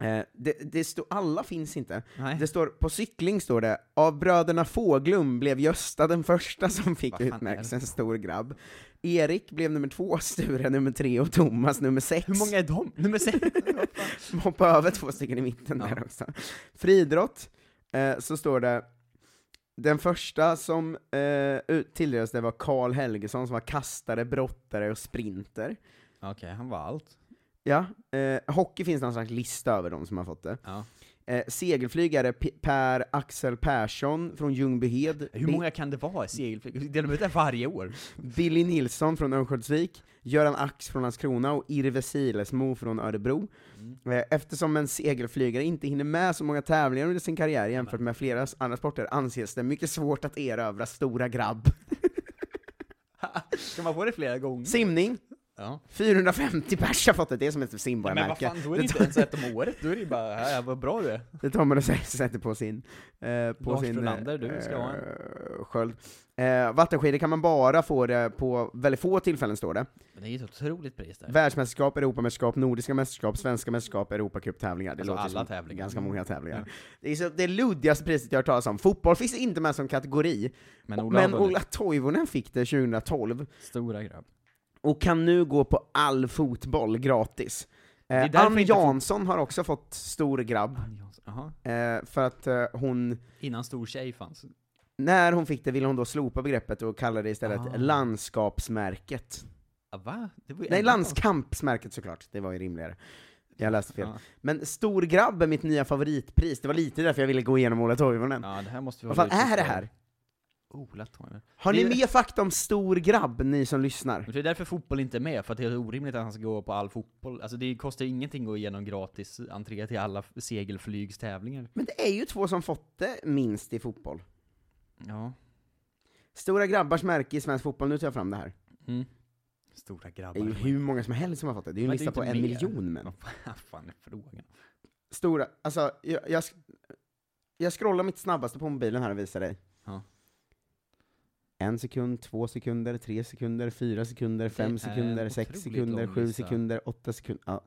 D: Eh, det, det står, alla finns inte.
C: Nej.
D: Det står, på cykling står det, av bröderna Fåglum blev Gösta den första som fick
C: Vad fan är det?
D: utmärkelsen stor grabb. Erik blev nummer två, [laughs] Sture nummer tre och Thomas nummer sex.
C: Hur många är de? Nummer sex?
D: [laughs] Hoppa över två stycken i mitten där
C: Ja.
D: också. Friidrott, eh, så står det, den första som eh, ut- tilldelades det var Karl Helgesson som var kastare, brottare och sprinter.
C: Okej, han var allt.
D: Ja, eh, hockey finns någon slags lista över de som har fått det.
C: Ja.
D: Eh, segelflygare P- Per Axel Persson från Ljungbyhed,
C: Hur
D: Bi-
C: många kan det vara i segelflyg? Delar de ut det varje år?
D: Billy Nilsson från Örnsköldsvik, Göran Ax från Landskrona och Irve Silesmo från Örebro.
C: Mm.
D: Eh, Eftersom en segelflygare inte hinner med så många tävlingar under sin karriär jämfört med flera andra sporter anses det mycket svårt att erövra stora grabb.
C: Mm. Ska man få det flera gånger?
D: Simning,
C: Ja.
D: 450 pers har fått det, det är som ett
C: Ja, Men vad
D: simborgarmärke.
C: fan, då är det
D: det,
C: inte
D: tar-
C: ens ett om året, då är det ju bara, ja, vad bra du är.
D: det tar man och sätter- sätter på sin... Eh, på
C: Lars
D: sin
C: Frölander, du ska ha en.
D: eh, sköld. Eh, vattenskidor kan man bara få det på väldigt få tillfällen, står det.
C: Men det är ju ett otroligt pris där.
D: Världsmästerskap, Europamästerskap, Nordiska mästerskap, Svenska mästerskap, Europacuptävlingar. Det
C: Alltså
D: låter
C: alla
D: som
C: tävlingar. Mm.
D: ganska många tävlingar. Det är så, det luddigaste priset jag har hört talas om. Fotboll finns inte med som kategori,
C: Men Ola,
D: men
C: har vunnit.
D: Ola Toivonen fick det 2012
C: Stora grabb.
D: och kan nu gå på all fotboll gratis.
C: är
D: Eh,
C: därför
D: Ann
C: inte fot-
D: Jansson har också fått stor grabb,
C: Jaha.
D: eh, för att eh, hon,
C: Innan stor tjej fanns.
D: när hon fick det ville hon då slopa begreppet och kalla det istället
C: Ah.
D: landskapsmärket.
C: Ah, va? Det var ju
D: Nej,
C: ändå-
D: landskampsmärket såklart, det var ju rimligare. Jag läste fel.
C: Ja.
D: Men stor grabb är mitt nya favoritpris, det var lite därför jag ville gå igenom Ola Toivonen.
C: Ja, det här måste vi
D: Vad fan
C: hålla
D: är
C: utkik
D: det
C: för.
D: här?
C: Ola Toivonen.
D: Har ni
C: Det är-
D: mer fakta om stor grabb, ni som lyssnar?
C: Men Det är därför fotboll inte är med, för att det är orimligt att han ska gå på all fotboll. Alltså det kostar ju ingenting att gå igenom gratis entré till alla f- segelflygstävlingar.
D: Men det är ju två som fått det minst i fotboll.
C: Ja.
D: Stora grabbars märke i svensk fotboll, nu tar jag fram det här.
C: Mm. Stora
D: Det är ju
C: grabbar.
D: hur många som helst som har fått det, det är ju en
C: Men det är
D: lista på
C: inte
D: en
C: mer.
D: miljon män.
C: Vad fan är frågan?
D: Stora, alltså jag, jag, sk- jag scrollar mitt snabbaste på mobilen här och visar dig.
C: Ja.
D: En sekund, två sekunder, tre sekunder, fyra sekunder,
C: är
D: fem
C: en
D: sekunder, sex
C: otroligt
D: sekunder,
C: lång
D: sju
C: lista.
D: sekunder, åtta sekunder. Ja.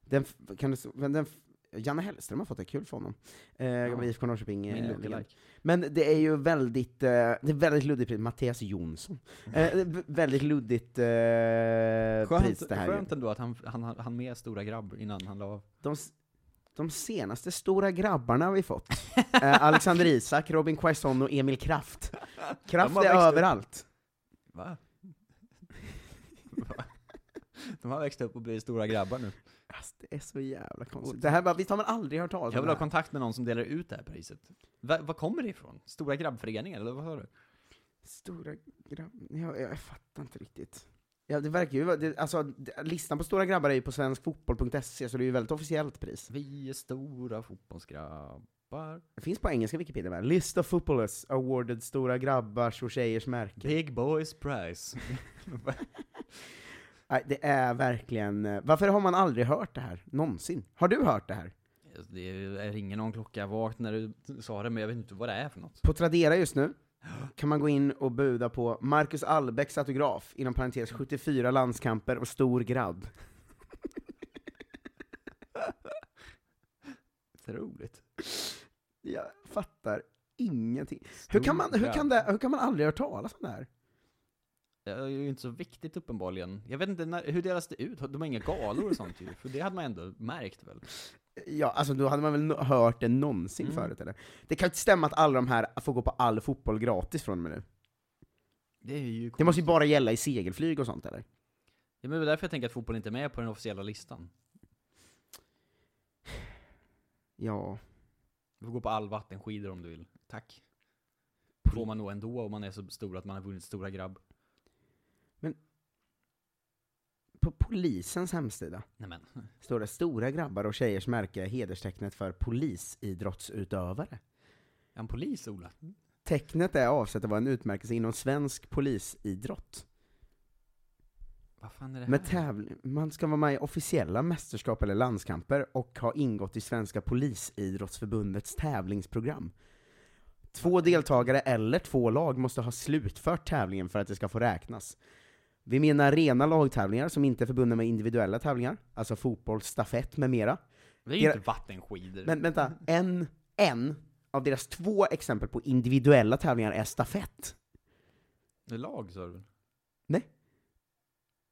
D: Den, f- kan du, s- men den, f- Janne Hellström har fått det, kul för honom. Eh, ja. IFK Norrköping. eh,
C: Min
D: ligger.
C: lookalike.
D: Men det är ju väldigt, eh, det är väldigt luddigt pris, Mattias Jonsson. Eh, det är v- väldigt luddigt eh, pris
C: Skönt,
D: det här. ju.
C: skönt ändå att han, han, han med stora grabb innan han la
D: [laughs]
C: av.
D: De, s- de senaste stora grabbarna har vi fått.
C: [laughs]
D: Eh, Alexander Isak, Robin Quaison och Emil Kraft. Kraft
C: har
D: är
C: växt upp.
D: överallt.
C: Va? [laughs] Va? De har växt upp och blivit stora grabbar nu.
D: Alltså, det är så jävla konstigt. Det här bara, visst har man aldrig hört talas
C: Jag
D: om
C: vill
D: det
C: ha
D: här?
C: kontakt med någon som delar ut det här priset. Va, vad kommer det ifrån? Stora grabbföreningar, eller vad sa du?
D: Stora grabbar, jag, jag fattar inte riktigt. Ja, det verkar ju vara, det, alltså, det, listan på stora grabbar är ju på svenskfotboll.se, så det är ju väldigt officiellt pris.
C: Vi är stora fotbollsgrabbar.
D: Det finns på engelska Wikipedia med. List of footballers awarded stora grabbars och tjejers märke.
C: Big boys prize.
D: Nej, det är verkligen... eh, Varför har man aldrig hört det här? Någonsin? Har du hört det här?
C: Det ringer någon klocka vagt när du sa det, men jag vet inte vad det är för något.
D: På Tradera just nu kan man gå in och buda på Marcus Albäcks autograf, inom parentes 74 landskamper och stor grabb. [laughs]
C: Otroligt.
D: Jag fattar ingenting. Hur kan, man, hur, kan det, hur kan man aldrig höra talas om det här?
C: Det är ju inte så viktigt uppenbarligen. Jag vet inte, när, hur delas det ut? De har inga galor och sånt ju, för det hade man ändå märkt väl?
D: Ja, alltså då hade man väl no- hört det någonsin
C: Mm.
D: förut eller? Det kan ju inte stämma att alla de här får gå på all fotboll gratis från och med nu.
C: Det är ju
D: Det
C: konstigt.
D: måste ju bara gälla i segelflyg och sånt eller?
C: Ja, men det är därför jag tänker att fotboll inte är med på den officiella listan.
D: Ja.
C: Du får gå på all vattenskidor om du vill. Tack. Får man nog ändå om man är så stor att man har vunnit stora grabb.
D: På polisens hemsida
C: Nej men.
D: står det stora grabbar och tjejers märke är hederstecknet för polisidrottsutövare.
C: Är han polis, Ola?
D: Tecknet är avsett att vara en utmärkelse inom svensk polisidrott.
C: Vad fan är det här?
D: Med tävling, man ska vara med i officiella mästerskap eller landskamper och ha ingått i Svenska Polisidrottsförbundets tävlingsprogram. Två deltagare eller två lag måste ha slutfört tävlingen för att det ska få räknas. Vi menar rena lagtävlingar som inte är förbundna med individuella tävlingar, alltså fotboll, stafett med mera.
C: det är ju inte vattenskidor.
D: Men vänta, en, en av deras två exempel på individuella tävlingar är stafett.
C: Det är lag, sa du?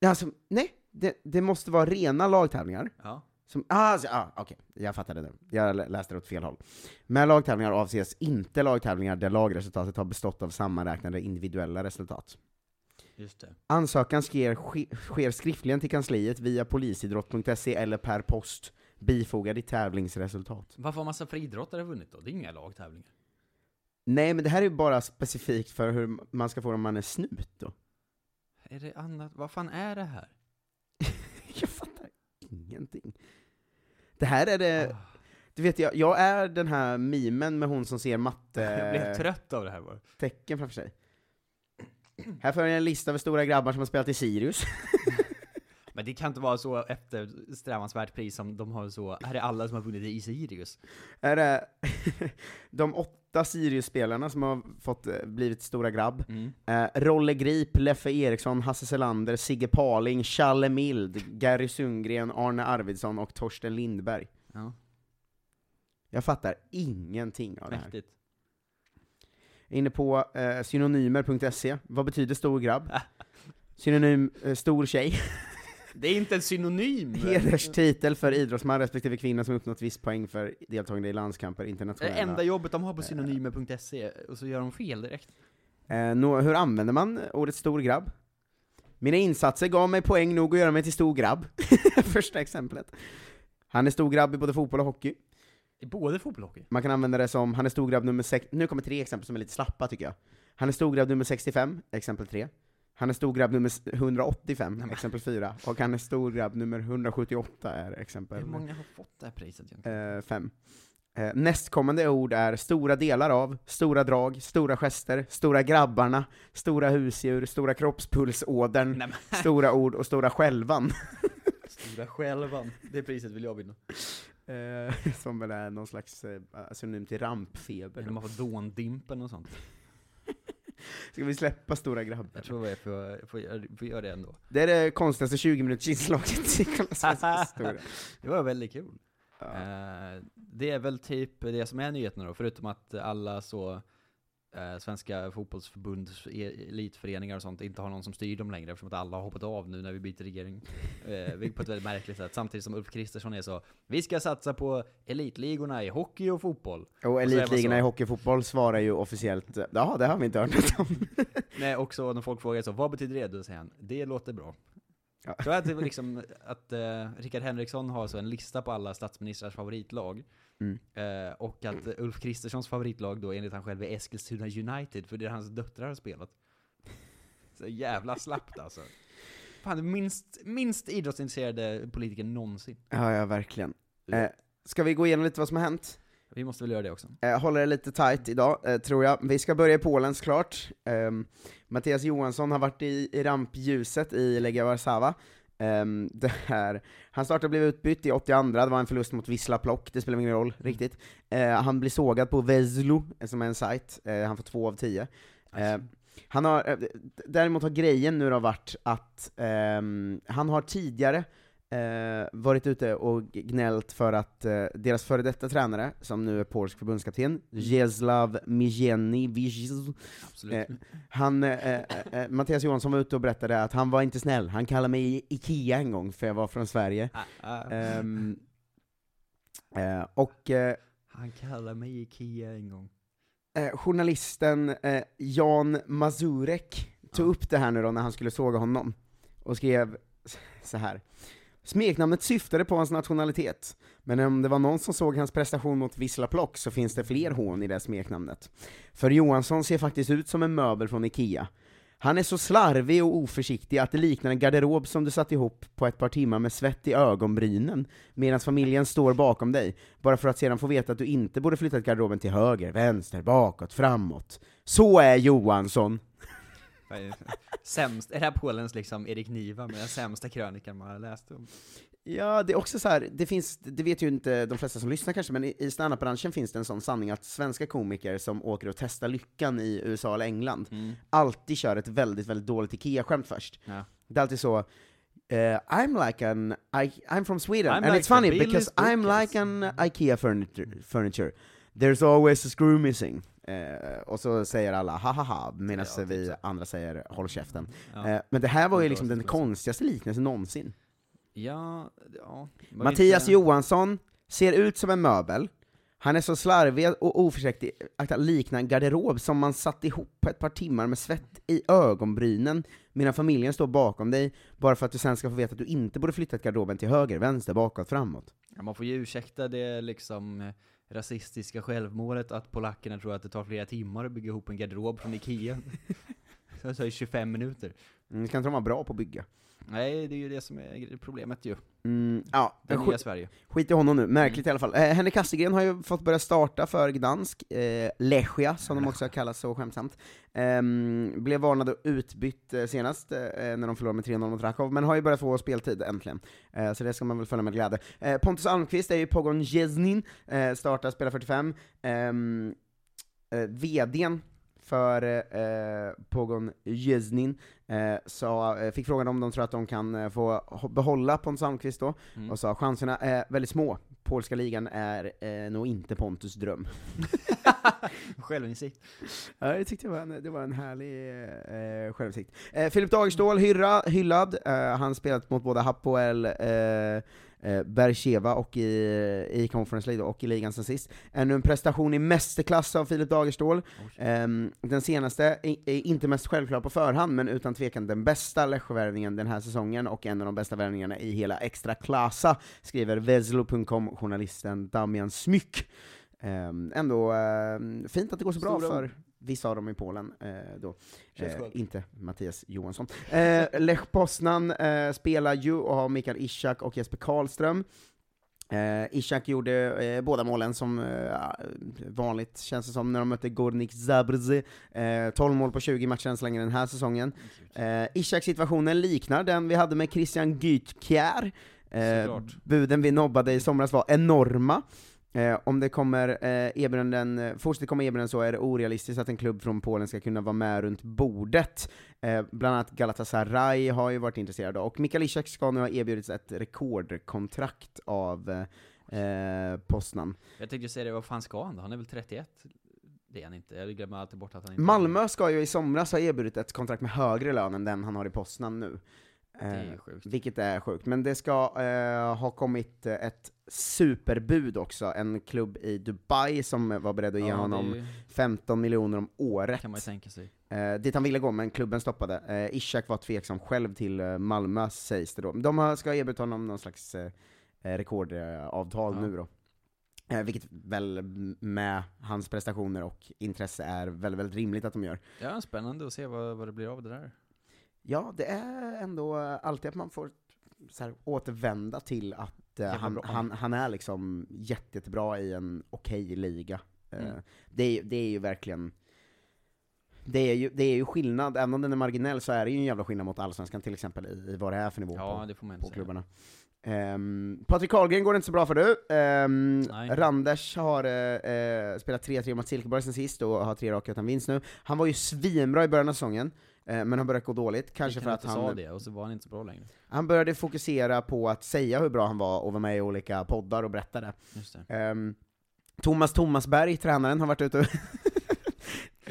D: Alltså, nej, det, det måste vara rena lagtävlingar.
C: Ja.
D: Som, ah, så- ah, okej, jag fattade nu. Jag lä- läste det åt fel håll. Med lagtävlingar avses inte lagtävlingar där lagresultatet har bestått av sammanräknade individuella resultat.
C: Just det.
D: Ansökan sker, ske- sker skriftligen till kansliet via polisidrott.se eller per post, bifogad i tävlingsresultat.
C: Varför har massa friidrottare vunnit då? Det är inga lagtävlingar.
D: Nej, men det här är ju bara specifikt för hur man ska få det om man är snut då.
C: Är det annat? Vad fan är det här?
D: [laughs] Jag fattar ingenting. Det här är det...
C: Ah,
D: Du vet, jag, jag är den här mimen med hon som
C: [laughs] [laughs]
D: ser
C: Jag blev
D: matte...
C: trött av det här bara.
D: tecken framför sig. Här följer en lista över stora grabbar som har spelat i Sirius. [laughs]
C: Men det kan inte vara så eftersträvansvärt pris som de har så, här är alla som har vunnit i Sirius.
D: Här Är det [laughs] de åtta Sirius-spelarna som har fått, eh, blivit stora grabb?
C: Mm.
D: Eh, Rolle Grip, Leffe Eriksson, Hasse Selander, Sigge Paling, Challe Mild, Gary Sundgren, Arne Arvidsson och Torsten Lindberg.
C: Ja,
D: Jag fattar ingenting av det här.
C: mäktigt.
D: inne på eh, synonymer.se. Vad betyder stor grabb? Synonym eh, stor tjej. [laughs]
C: Det är inte en synonym!
D: Hederstitel för idrottsman respektive kvinna som uppnått viss poäng för deltagande i landskamper
C: Det är
D: internationella.
C: enda jobbet de har på synonymer.se, och så gör de fel direkt.
D: Eh, nå- hur använder man ordet stor grabb? Mina insatser gav mig poäng nog att göra mig till stor grabb. Första exemplet. Han är stor grabb i både fotboll och hockey.
C: I både fotboll och hockey.
D: Man kan använda det som, han är storgrabb nummer 6, nu kommer tre exempel som är lite slappa tycker jag. Han är storgrabb nummer 65, exempel 3. Han är storgrabb nummer s- 185, exempel 4. Och han är storgrabb nummer 178 är exempel
C: Hur många har fått det här priset egentligen?
D: 5. nästkommande ord är stora delar av, stora drag, stora gester, stora grabbarna, stora husdjur, stora kroppspulsådern,
C: Nej, men, [laughs]
D: [laughs] stora ord och stora skälvan.
C: stora självan. Det priset vill jag vinna.
D: eh, [laughs] som väl är någon slags eh, synonym till rampfeber.
C: Eller man får dåndimpen och sånt.
D: Ska vi släppa stora grabbar?
C: Jag tror jag får, får, göra- får göra det ändå.
D: Det är det konstigaste 20-minutersinslaget i Kolla
C: [laughs]
D: Svensk historia.
C: Det var väldigt kul.
D: Ja.
C: Eh, det är väl typ det som är nyheterna då, förutom att alla så eh, svenska fotbollsförbunds e- elitföreningar och sånt inte har någon som styr dem längre eftersom att alla har hoppat av nu när vi byter regering. Eh, vilket på ett väldigt märkligt sätt. Samtidigt som Ulf Kristersson är så, vi ska satsa på elitligorna i hockey och fotboll.
D: Och
C: är man
D: elitligorna
C: så-
D: i hockey och fotboll svarar ju officiellt, ja det har vi inte hört något om.
C: Nej, också när folk frågar så, vad betyder det? Då säger han, det låter bra.
D: Ja.
C: Jag tror att, det var liksom, att eh, Rickard Henriksson har så en lista på alla statsministrars favoritlag.
D: Mm.
C: Eh, och att Ulf Kristerssons favoritlag då enligt han själv är Eskilstuna United, för det är hans döttrar har spelat. Så jävla slappt alltså. Fan, den minst, minst idrottsintresserade politiker någonsin.
D: Ja, ja verkligen. Eh, ska vi gå igenom lite vad som har hänt?
C: Vi måste väl göra det också.
D: Eh, håller det lite tight idag, eh, tror jag. Vi ska börja i Polen såklart. Ehm, Mattias Johansson har varit i, i rampljuset i Legia Warszawa. Ehm, det här, han startade och blev utbytt i 82, det var en förlust mot Wisla Plock, det spelar ingen roll riktigt. Eh, han blir sågad på Vezlo, eh, som är en sajt, Eh, han får två av tio. Eh, han har, eh, d- däremot har grejen nu då varit att ehm, han har tidigare eh, varit ute och gnällt för att eh, deras före detta tränare, som nu är polsk förbundskapten, Jeslav Mijeniewicz,
C: Absolut.
D: Eh, han, eh, eh, eh, Mattias Johansson var ute och berättade att han var inte snäll, han kallade mig I- Ikea en gång för jag var från Sverige.
C: Ah, ah.
D: Ehm, eh, och eh,
C: Han kallade mig Ikea en gång.
D: eh, journalisten eh, Jan Mazurek tog
C: Ja.
D: upp det här nu då när han skulle såga honom, och skrev s- så här. Smeknamnet syftade på hans nationalitet, men om det var någon som såg hans prestation mot Wisla Plock så finns det fler hån i det smeknamnet. För Johansson ser faktiskt ut som en möbel från Ikea. Han är så slarvig och oförsiktig att det liknar en garderob som du satt ihop på ett par timmar med svett i ögonbrynen, medan familjen står bakom dig, bara för att sedan få veta att du inte borde flyttat garderoben till höger, vänster, bakåt, framåt. Så är Johansson!
C: Sämst, är det här Polens liksom Erik Niva med den sämsta krönikan man har läst om?
D: Ja, det är också så här, det finns, det vet ju inte de flesta som lyssnar kanske, men i, i standup-branschen finns det en sån sanning att svenska komiker som åker och testar lyckan i USA eller England
C: Mm.
D: alltid kör ett väldigt, väldigt dåligt IKEA-skämt först.
C: Ja.
D: Det är alltid så, eh, I'm like an, I, I'm from Sweden,
C: I'm
D: and
C: like
D: it's funny
C: the Billy's
D: because I'm
C: Dickens."
D: like an IKEA furniture, furniture. there's always a screw missing. Eh, och så säger alla ha ha ha, medan
C: Ja, typ
D: vi
C: så.
D: andra säger håll käften.
C: Ja.
D: Eh, men det här var ju
C: Det
D: liksom
C: var
D: den
C: så konstigt.
D: konstigaste liknelsen någonsin.
C: Ja, ja. Var
D: Mattias
C: inte-
D: Johansson ser ut som en möbel, han är så slarvig och oförsiktig att han liknar en garderob som man satt ihop på ett par timmar med svett i ögonbrynen medan familjen står bakom dig, bara för att du sen ska få veta att du inte borde flyttat garderoben till höger, vänster, bakåt, framåt.
C: Ja, man får ju ursäkta det liksom eh, rasistiska självmålet att polackerna tror att det tar flera timmar att bygga ihop en garderob från
D: [laughs]
C: Ikea. Så det tar ju 25 minuter.
D: Mm, kan inte de vara bra på att bygga?
C: Nej, det är ju det som är problemet ju.
D: Mm, ja,
C: Det
D: skit-
C: nya
D: [laughs]
C: Sverige.
D: Skit i honom nu, märkligt i alla fall. Eh, Henrik Kastegren har ju fått börja starta för Gdansk, eh, Lechia som de också har kallats så skämtsamt. Ehm, blev varnad och utbytt eh, senast eh, när de förlorade med 3-0 mot Rakov, men har ju börjat få speltid äntligen. Eh, så det ska man väl följa med glädje. Eh, Pontus Almqvist är ju Pogon Jeznin, eh, startar, spelar 45. Ehm, eh, VDn för eh, Pogon Jeznin eh, sa, eh, fick frågan om de tror att de kan eh, få ho- behålla Pontus Almqvist då,
C: Mm.
D: och sa chanserna är väldigt små. Polska ligan är eh, nog inte Pontus dröm.
C: Självinsikt.
D: Ja, det tyckte jag var en, det var en härlig eh, självsikt. Eh, Filip Dagerstål hyra, hyllad, eh, han spelat mot både Hapoel eh, eh, Bercheva och i, i Conference League då, och i ligan sen sist. Ännu en prestation i mästerklass av Filip Dagerstål. Ehm, den senaste, är- är inte mest självklar på förhand, men utan tvekan den bästa Lesjö-värvningen den här säsongen och en av de bästa värvningarna i hela Extra Klasa, skriver Vezlo.com, journalisten Damian Smyck. Ehm, ändå ehm, fint att det går så bra
C: Stora
D: för
C: ord.
D: vissa av dem i Polen eh, då.
C: Känns
D: Eh,
C: skönt.
D: inte Mattias Johansson. Eh, Lech Poznan eh, spelar ju och har Mikael Ishak och Jesper Karlström. Eh, Ishak gjorde eh, båda målen som eh, vanligt känns det som när de mötte Gornik Zabrze. Eh, 12 mål på 20 matcher än så länge den här säsongen. Eh, Ishaks situationen liknar den vi hade med Christian Gytkjær. Eh,
C: Såklart.
D: buden vi nobbade i somras var enorma. Eh, om det kommer eh, erbjudanden, eh, fortsätter komma erbjudanden så är det orealistiskt att en klubb från Polen ska kunna vara med runt bordet. Eh, bland annat Galatasaray har ju varit intresserade och Mikael Ishak ska nu ha erbjudits ett rekordkontrakt av eh, eh, Poznan.
C: Jag tänkte säga det, vad fan ska han då? Han är väl 31? Det är han inte, jag glömmer alltid bort att han inte
D: Malmö ska ju i somras ha erbjudit ett kontrakt med högre lön än den han har i Poznan nu.
C: Det är
D: Eh,
C: ju sjukt.
D: Vilket är sjukt. Men det ska eh, ha kommit eh, ett superbud också, en klubb i Dubai som var beredd att ge
C: Ja, det
D: honom
C: är ju-
D: 15 miljoner om året.
C: kan man ju tänka sig.
D: Eh, dit han ville gå, men klubben stoppade. Eh, Ishak var tveksam själv till eh, Malmö, sägs det då. De har, ska ha erbjudit honom någon slags eh, eh, rekordavtal
C: Ja.
D: nu då. Eh, vilket väl m- med hans prestationer och intresse är väldigt, väldigt rimligt att de gör.
C: Ja, spännande att se vad, vad det blir av det där.
D: Ja, det är ändå alltid att man får så här, återvända till att eh,
C: Jävla
D: han,
C: bra.
D: han, han är liksom jätte, jättebra i en okej liga. Eh,
C: Mm.
D: det, är, det är ju verkligen... Det är, ju, det är ju skillnad, även om den är marginell så är det ju en jävla skillnad mot Allsvenskan till exempel i, i vad det är för nivå
C: Ja,
D: på,
C: det får man
D: på
C: inte säga.
D: klubbarna. Ehm, Patrik Karlgren går det inte så bra för du. Ehm,
C: Nej.
D: Randers har eh, eh, spelat 3-3 mot Silkeborg sen sist och har tre raka utan vinst nu. Han var ju svinbra i början av säsongen, eh, men har börjat gå dåligt. Kanske
C: Gick
D: för att
C: inte sa
D: han
C: det, och så var han inte så bra längre.
D: han började fokusera på att säga hur bra han var och vara med i olika poddar och berätta det.
C: Just det.
D: Ehm, Thomas Thomasberg, tränaren, har varit ute och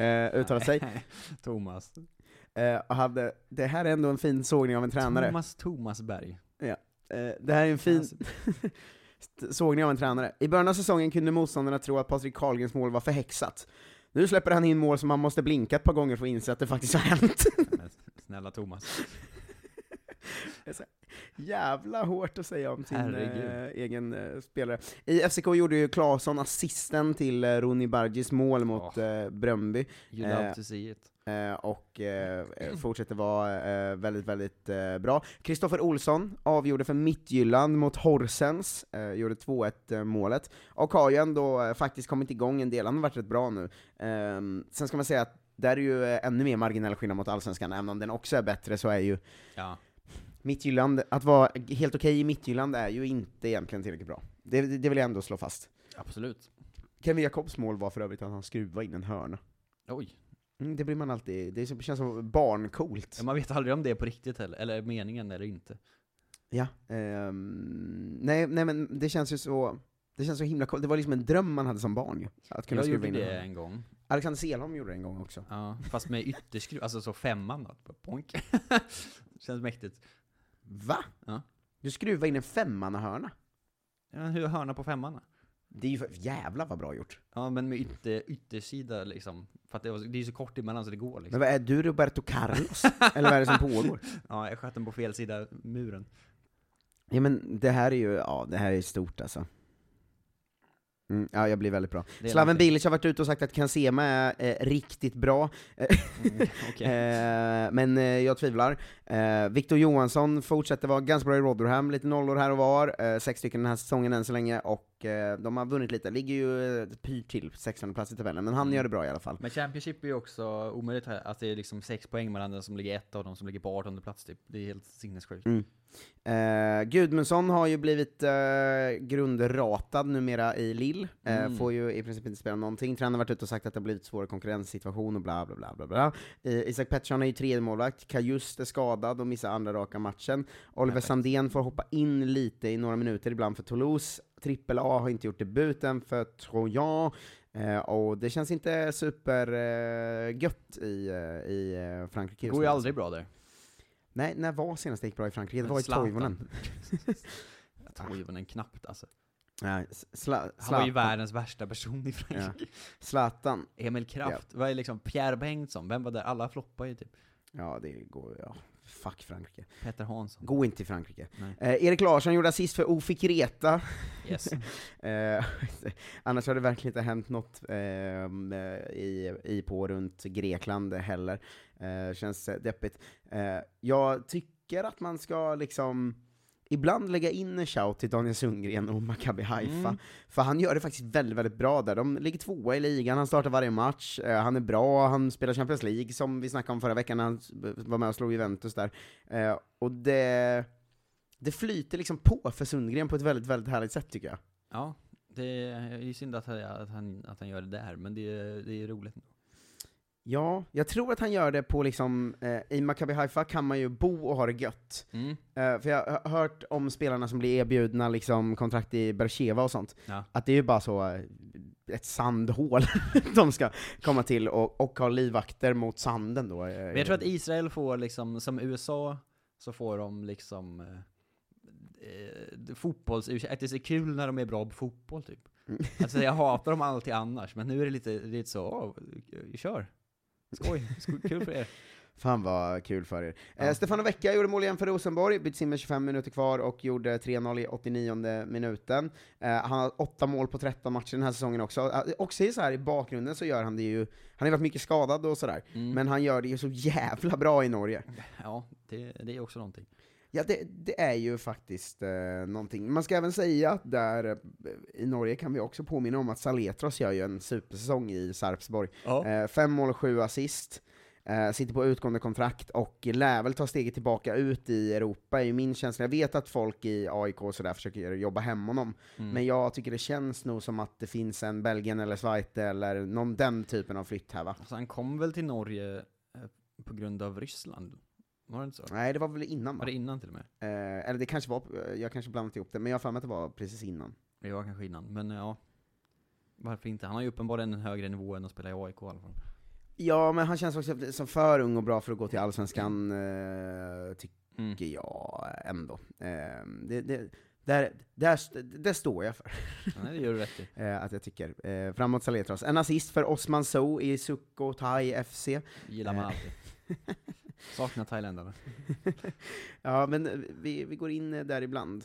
D: [laughs] eh, uttalat sig.
C: [laughs] Thomas.
D: Eh, och hade, det här är ändå en fin sågning av en tränare.
C: Thomas Alltså, Thomasberg.
D: Eh, det här är en fin st- sågning av en tränare. I början av säsongen kunde motståndarna tro att Patrik Karlgrens mål var förhäxat. Nu släpper han in mål som han måste blinka ett par gånger för att inse att det faktiskt har hänt. [laughs]
C: Men Snälla Thomas.
D: Jävla hårt att säga om sin eh,
C: Herregud.
D: egen eh, spelare. I FCK gjorde ju Claesson assisten till eh, Roni Bargis mål mot
C: Ja.
D: eh, Bröndby,
C: You love
D: Eh,
C: to see it.
D: eh, och eh, eh, fortsätter vara eh, väldigt, väldigt eh, bra. Kristoffer Olsson avgjorde för Mittjylland mot Horsens, eh, gjorde 2-1 eh, målet, och har ju ändå eh, faktiskt kommit igång en del, han har varit rätt bra nu. Ehm, sen ska man säga att där är ju eh, ännu mer marginell skillnad mot Allsvenskan, även om den också är bättre så är ju
C: Ja.
D: Mittjylland, att vara helt okej i Mittjylland är ju inte egentligen tillräckligt bra. Det, det, det vill jag ändå slå fast.
C: Absolut.
D: Kevin Jakobs mål var för övrigt att han skruvade in en hörna.
C: Oj.
D: Mm, det blir man alltid, det är så- det känns som barncoolt.
C: Ja, Man vet aldrig om det är på riktigt heller, eller är meningen eller inte.
D: Ja. ehm, nej, nej men det känns ju så, det känns så himla coolt. Det var liksom en dröm man hade som barn ju. Att kunna
C: Jag
D: skruva
C: gjorde
D: in en
C: det
D: hörna.
C: en gång.
D: Alexander Selholm gjorde det en gång också.
C: Ja, fast med ytterskruv, alltså så femman då. Bara Boink. [laughs] Känns mäktigt.
D: Va?
C: Ja.
D: Du skruvade in en femmannahörna?
C: Ja, men hur hörna på femman?
D: Det är ju för, jävla vad bra gjort.
C: Ja, men med ytter, yttersida liksom. För att det, var, det är ju så kort emellan så det går liksom.
D: Men vad är du Roberto
C: [laughs]
D: Carlos? Eller vad är det som pågår?
C: Ja, jag sköt den på fel sida muren.
D: Ja men det här är ju, ja det här är stort alltså. Mm, ja, jag blir väldigt bra.
C: Det är
D: Slaven
C: någonting.
D: Bilic har varit ute och sagt att Kansema är eh, riktigt bra,
C: Mm, okej.
D: [laughs] eh, men eh, jag tvivlar. Eh, Victor Johansson fortsätter vara ganska bra i Rotherham, lite nollor här och var, eh, sex stycken den här säsongen än så länge, och eh, de har vunnit lite, ligger ju eh, pyrt till, 16 plats i tabellen, men han gör det bra i alla fall.
C: Men Championship är ju också omöjligt här, att det är liksom sex poäng mellan den som ligger ett och de som ligger på 18 plats typ. Det är helt sinnessjukt.
D: Eh, Gudmundsson har ju blivit eh, grundratad numera i Lill, eh,
C: Mm.
D: får ju i princip inte spela någonting. Tränaren har varit ute och sagt att det har blivit svår konkurrenssituation och bla bla bla bla bla. Eh, Isak Pettersson är ju tredje målvakt, Kajust är skadad och missar andra raka matchen. Oliver
C: Perfekt.
D: Sandén får hoppa in lite i några minuter ibland för Toulouse. Trippel A har inte gjort debuten för Trojan. Eh, och det känns inte supergött eh, gött i, eh, i eh, Frankrike
C: Det
D: just
C: går ju
D: nu.
C: aldrig bra där.
D: Nej, när var senast det gick bra i Frankrike? Det var i
C: Zlatan.
D: Toivonen.
C: [laughs] Jag tror ju den knappt alltså.
D: Nej, sla,
C: Han var ju världens värsta person i Frankrike.
D: Zlatan.
C: Emil Kraft, vad är liksom Pierre Bengtsson, vem var där? Alla floppar ju typ.
D: Ja, det går ja. Fuck Frankrike.
C: Peter Hansson.
D: Gå inte till Frankrike.
C: Nej.
D: Eh, Erik Larsson gjorde assist för Ofik Reta. [laughs]
C: Yes.
D: Eh, annars har det verkligen inte hänt något ehm, eh, i, i på runt Grekland heller. Eh, känns eh, deppigt. Eh, jag tycker att man ska liksom ibland lägga in en shout till Daniel Sundgren och Maccabi Haifa.
C: Mm.
D: För han gör det faktiskt väldigt, väldigt bra där. De ligger tvåa i ligan, han startar varje match, eh, han är bra, han spelar Champions League som vi snackade om förra veckan när han s- var med och slog Juventus där. Eh, och det... det flyter liksom på för Sundgren på ett väldigt, väldigt härligt sätt tycker jag.
C: Ja, det är ju synd att han, att han, att han gör det där, men det är, det är roligt.
D: Ja, jag tror att han gör det på liksom, eh, i Maccabi Haifa kan man ju bo och ha det gött.
C: Mm.
D: Eh, för jag har hört om spelarna som blir erbjudna liksom kontrakt i Bercheva och sånt,
C: Ja.
D: att det är ju bara så eh, ett sandhål [laughs] de ska komma till och, och ha livvakter mot sanden då. eh,
C: Men jag tror att Israel får liksom, som USA, så får de liksom eh, eh, fotbolls att det är så kul när de är bra på fotboll typ. Alltså jag hatar dem alltid annars, men nu är det lite, lite så, åh, kör. Skoj, sko- kul för er.
D: Fan vad kul för er. Eh,
C: Ja.
D: Stefano Vecchia gjorde mål igen för Rosenborg, byttes in med 25 minuter kvar och gjorde 3-0 i 89 minuten. Eh, han har 8 mål på 13 matcher den här säsongen också. Eh, också så här i bakgrunden så gör han det ju, han har ju varit mycket skadad och sådär, men han gör det ju så jävla bra i Norge.
C: Ja, det, det är också någonting.
D: Ja, det, det är ju faktiskt eh, någonting. Man ska även säga att där eh, i Norge kan vi också påminna om att Saletros gör ju en supersäsong i Sarpsborg.
C: Ja.
D: Eh, fem mål och sju assist. Eh, sitter på utgående kontrakt och lär väl ta steget tillbaka ut i Europa, är ju min känsla. Jag vet att folk i AIK och sådär försöker jobba hem honom,
C: Mm.
D: men jag tycker det känns nog som att det finns en Belgien eller Schweiz eller någon den typen av flytt här va?
C: Alltså, han kom väl till Norge eh, på grund av Ryssland? Var det inte så?
D: Nej, det var väl innan va?
C: Var det innan till och med?
D: Eh, eller det kanske var, jag kanske blandat ihop det, men jag har för mig att det var precis innan.
C: Det var kanske innan, men eh, ja. Varför inte? Han har ju uppenbarligen en högre nivå än att spela i AIK i alla fall.
D: Ja, men han känns också som för ung och bra för att gå till Allsvenskan, eh,
C: Mm.
D: tycker jag ändå. Eh, det, det, där, där, st- det står jag för,
C: Nej, det gör du rätt i.
D: eh, att jag tycker. Eh, framåt Saletros. En assist för Osman So i Sukhothai FC.
C: Gillar man
D: Eh.
C: alltid. Saknar thailändarna.
D: [laughs] Ja, men vi, vi går in eh, där ibland.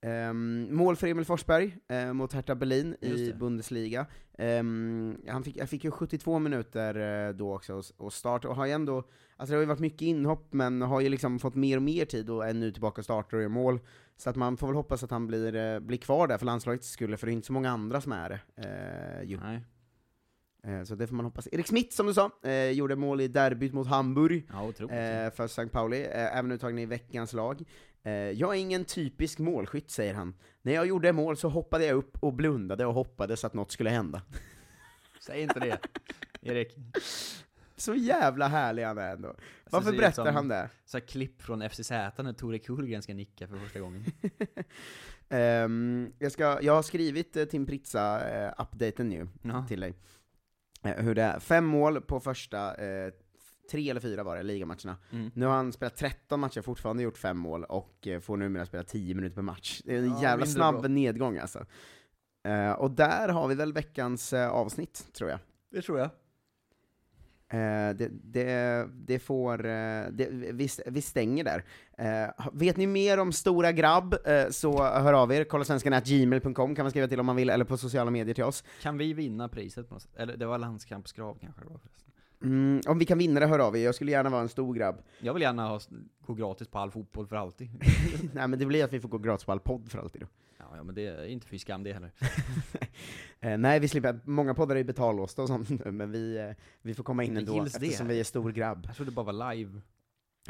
D: Ehm, mål för Emil Forsberg eh, mot Hertha Berlin
C: Just
D: i
C: det.
D: Bundesliga. Ehm, han, fick, han fick ju 72 minuter eh, då också och, s- och start, och har ju ändå, alltså det har ju varit mycket inhopp, men har ju liksom fått mer och mer tid och är nu tillbaka och startar och gör mål. Så att man får väl hoppas att han blir, eh, blir kvar där för landslagets skull, för det är inte så många andra som är det. Eh, ju.
C: Nej.
D: Eh, så det får man hoppas. Erik Smith, som du sa, eh, gjorde mål i derbyt mot Hamburg.
C: Ja, otroligt.
D: Eh, för St. Pauli, eh, även uttagen i veckans lag. Eh, jag är ingen typisk målskytt, säger han. När jag gjorde mål så hoppade jag upp och blundade och hoppades att något skulle hända.
C: Säg inte det, Erik.
D: [laughs] Så jävla härlig han är ändå. Varför
C: Alltså, det är
D: berättar
C: som-
D: han det?
C: Så här klipp från FCZ när Tore Kullgren ska nicka för första
D: [laughs]
C: gången.
D: Ehm, jag, ska, jag har skrivit eh, Tim Pritza-updaten nu
C: Ja.
D: till dig. Eh, hur det är. Fem mål på första, eh, tre eller fyra var det, ligamatcherna.
C: Mm.
D: Nu har han spelat 13 matcher, fortfarande gjort fem mål, och eh, får numera spela 10 minuter per match. Det är en
C: Ja,
D: jävla
C: mindre
D: snabb
C: bra.
D: nedgång alltså. Eh, och där har vi väl veckans eh, avsnitt, tror jag.
C: Det tror jag.
D: Eh, det, det, det får... eh, det, vi, vi stänger där. Eh, vet ni mer om Stora Grabb, eh, så hör av er. Kollasvenskan.gmail.com kan man skriva till om man vill, eller på sociala medier till oss.
C: Kan vi vinna priset på något sätt? Eller det var landskampskrav kanske det var förresten.
D: Mm, om vi kan vinna det, hör av er. Jag skulle gärna vara en stor grabb. [laughs]
C: Jag vill gärna ha, gå gratis på all fotboll för alltid.
D: Nej men det blir att vi får gå gratis på all podd för alltid då.
C: Ja, ja men det är inte fy skam det heller.
D: Eh, nej, vi slipper. Många poddar är ju betallåsta och sånt nu, men vi, eh, vi får komma in
C: Det
D: ändå
C: gills det.
D: eftersom vi är stor grabb.
C: Jag trodde det bara var live.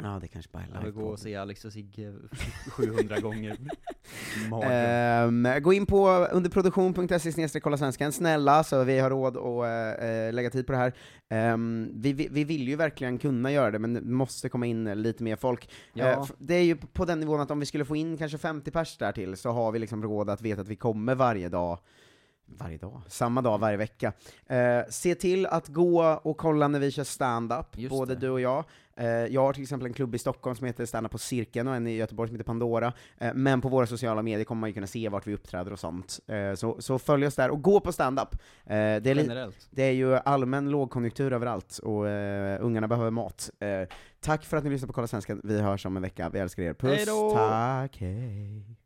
D: Ja, det kanske bara
C: Jag vill gå
D: är
C: och se Alex och Sigge 700
D: [laughs]
C: gånger. Magen.
D: Ehm, gå in på underproduktion.se snedstreck kolla svenskan, snälla, så vi har råd att eh, eh, lägga tid på det här. Ehm, vi, vi, vi vill ju verkligen kunna göra det, men det måste komma in eh, lite mer folk.
C: Ja.
D: Eh, f- det är ju på den nivån att om vi skulle få in kanske 50 pers där till så har vi liksom råd att veta att vi kommer varje dag varje dag, samma dag varje vecka. Eh, se till att gå och kolla när vi kör stand-up,
C: Just
D: både
C: det.
D: du och jag. Eh, jag har till exempel en klubb i Stockholm som heter Stand-up på Cirkeln och en i Göteborg som heter Pandora. Eh, men på våra sociala medier kommer man ju kunna se vart vi uppträder och sånt. Eh, så, så följ oss där och gå på stand-up. Eh, det, är li-
C: Generellt.
D: det är ju allmän lågkonjunktur överallt och eh, ungarna behöver mat. Eh, tack för att ni lyssnar på Kolla Svenskan, vi hörs om en vecka, vi älskar er. Puss,
C: Hej då!
D: tack, hej.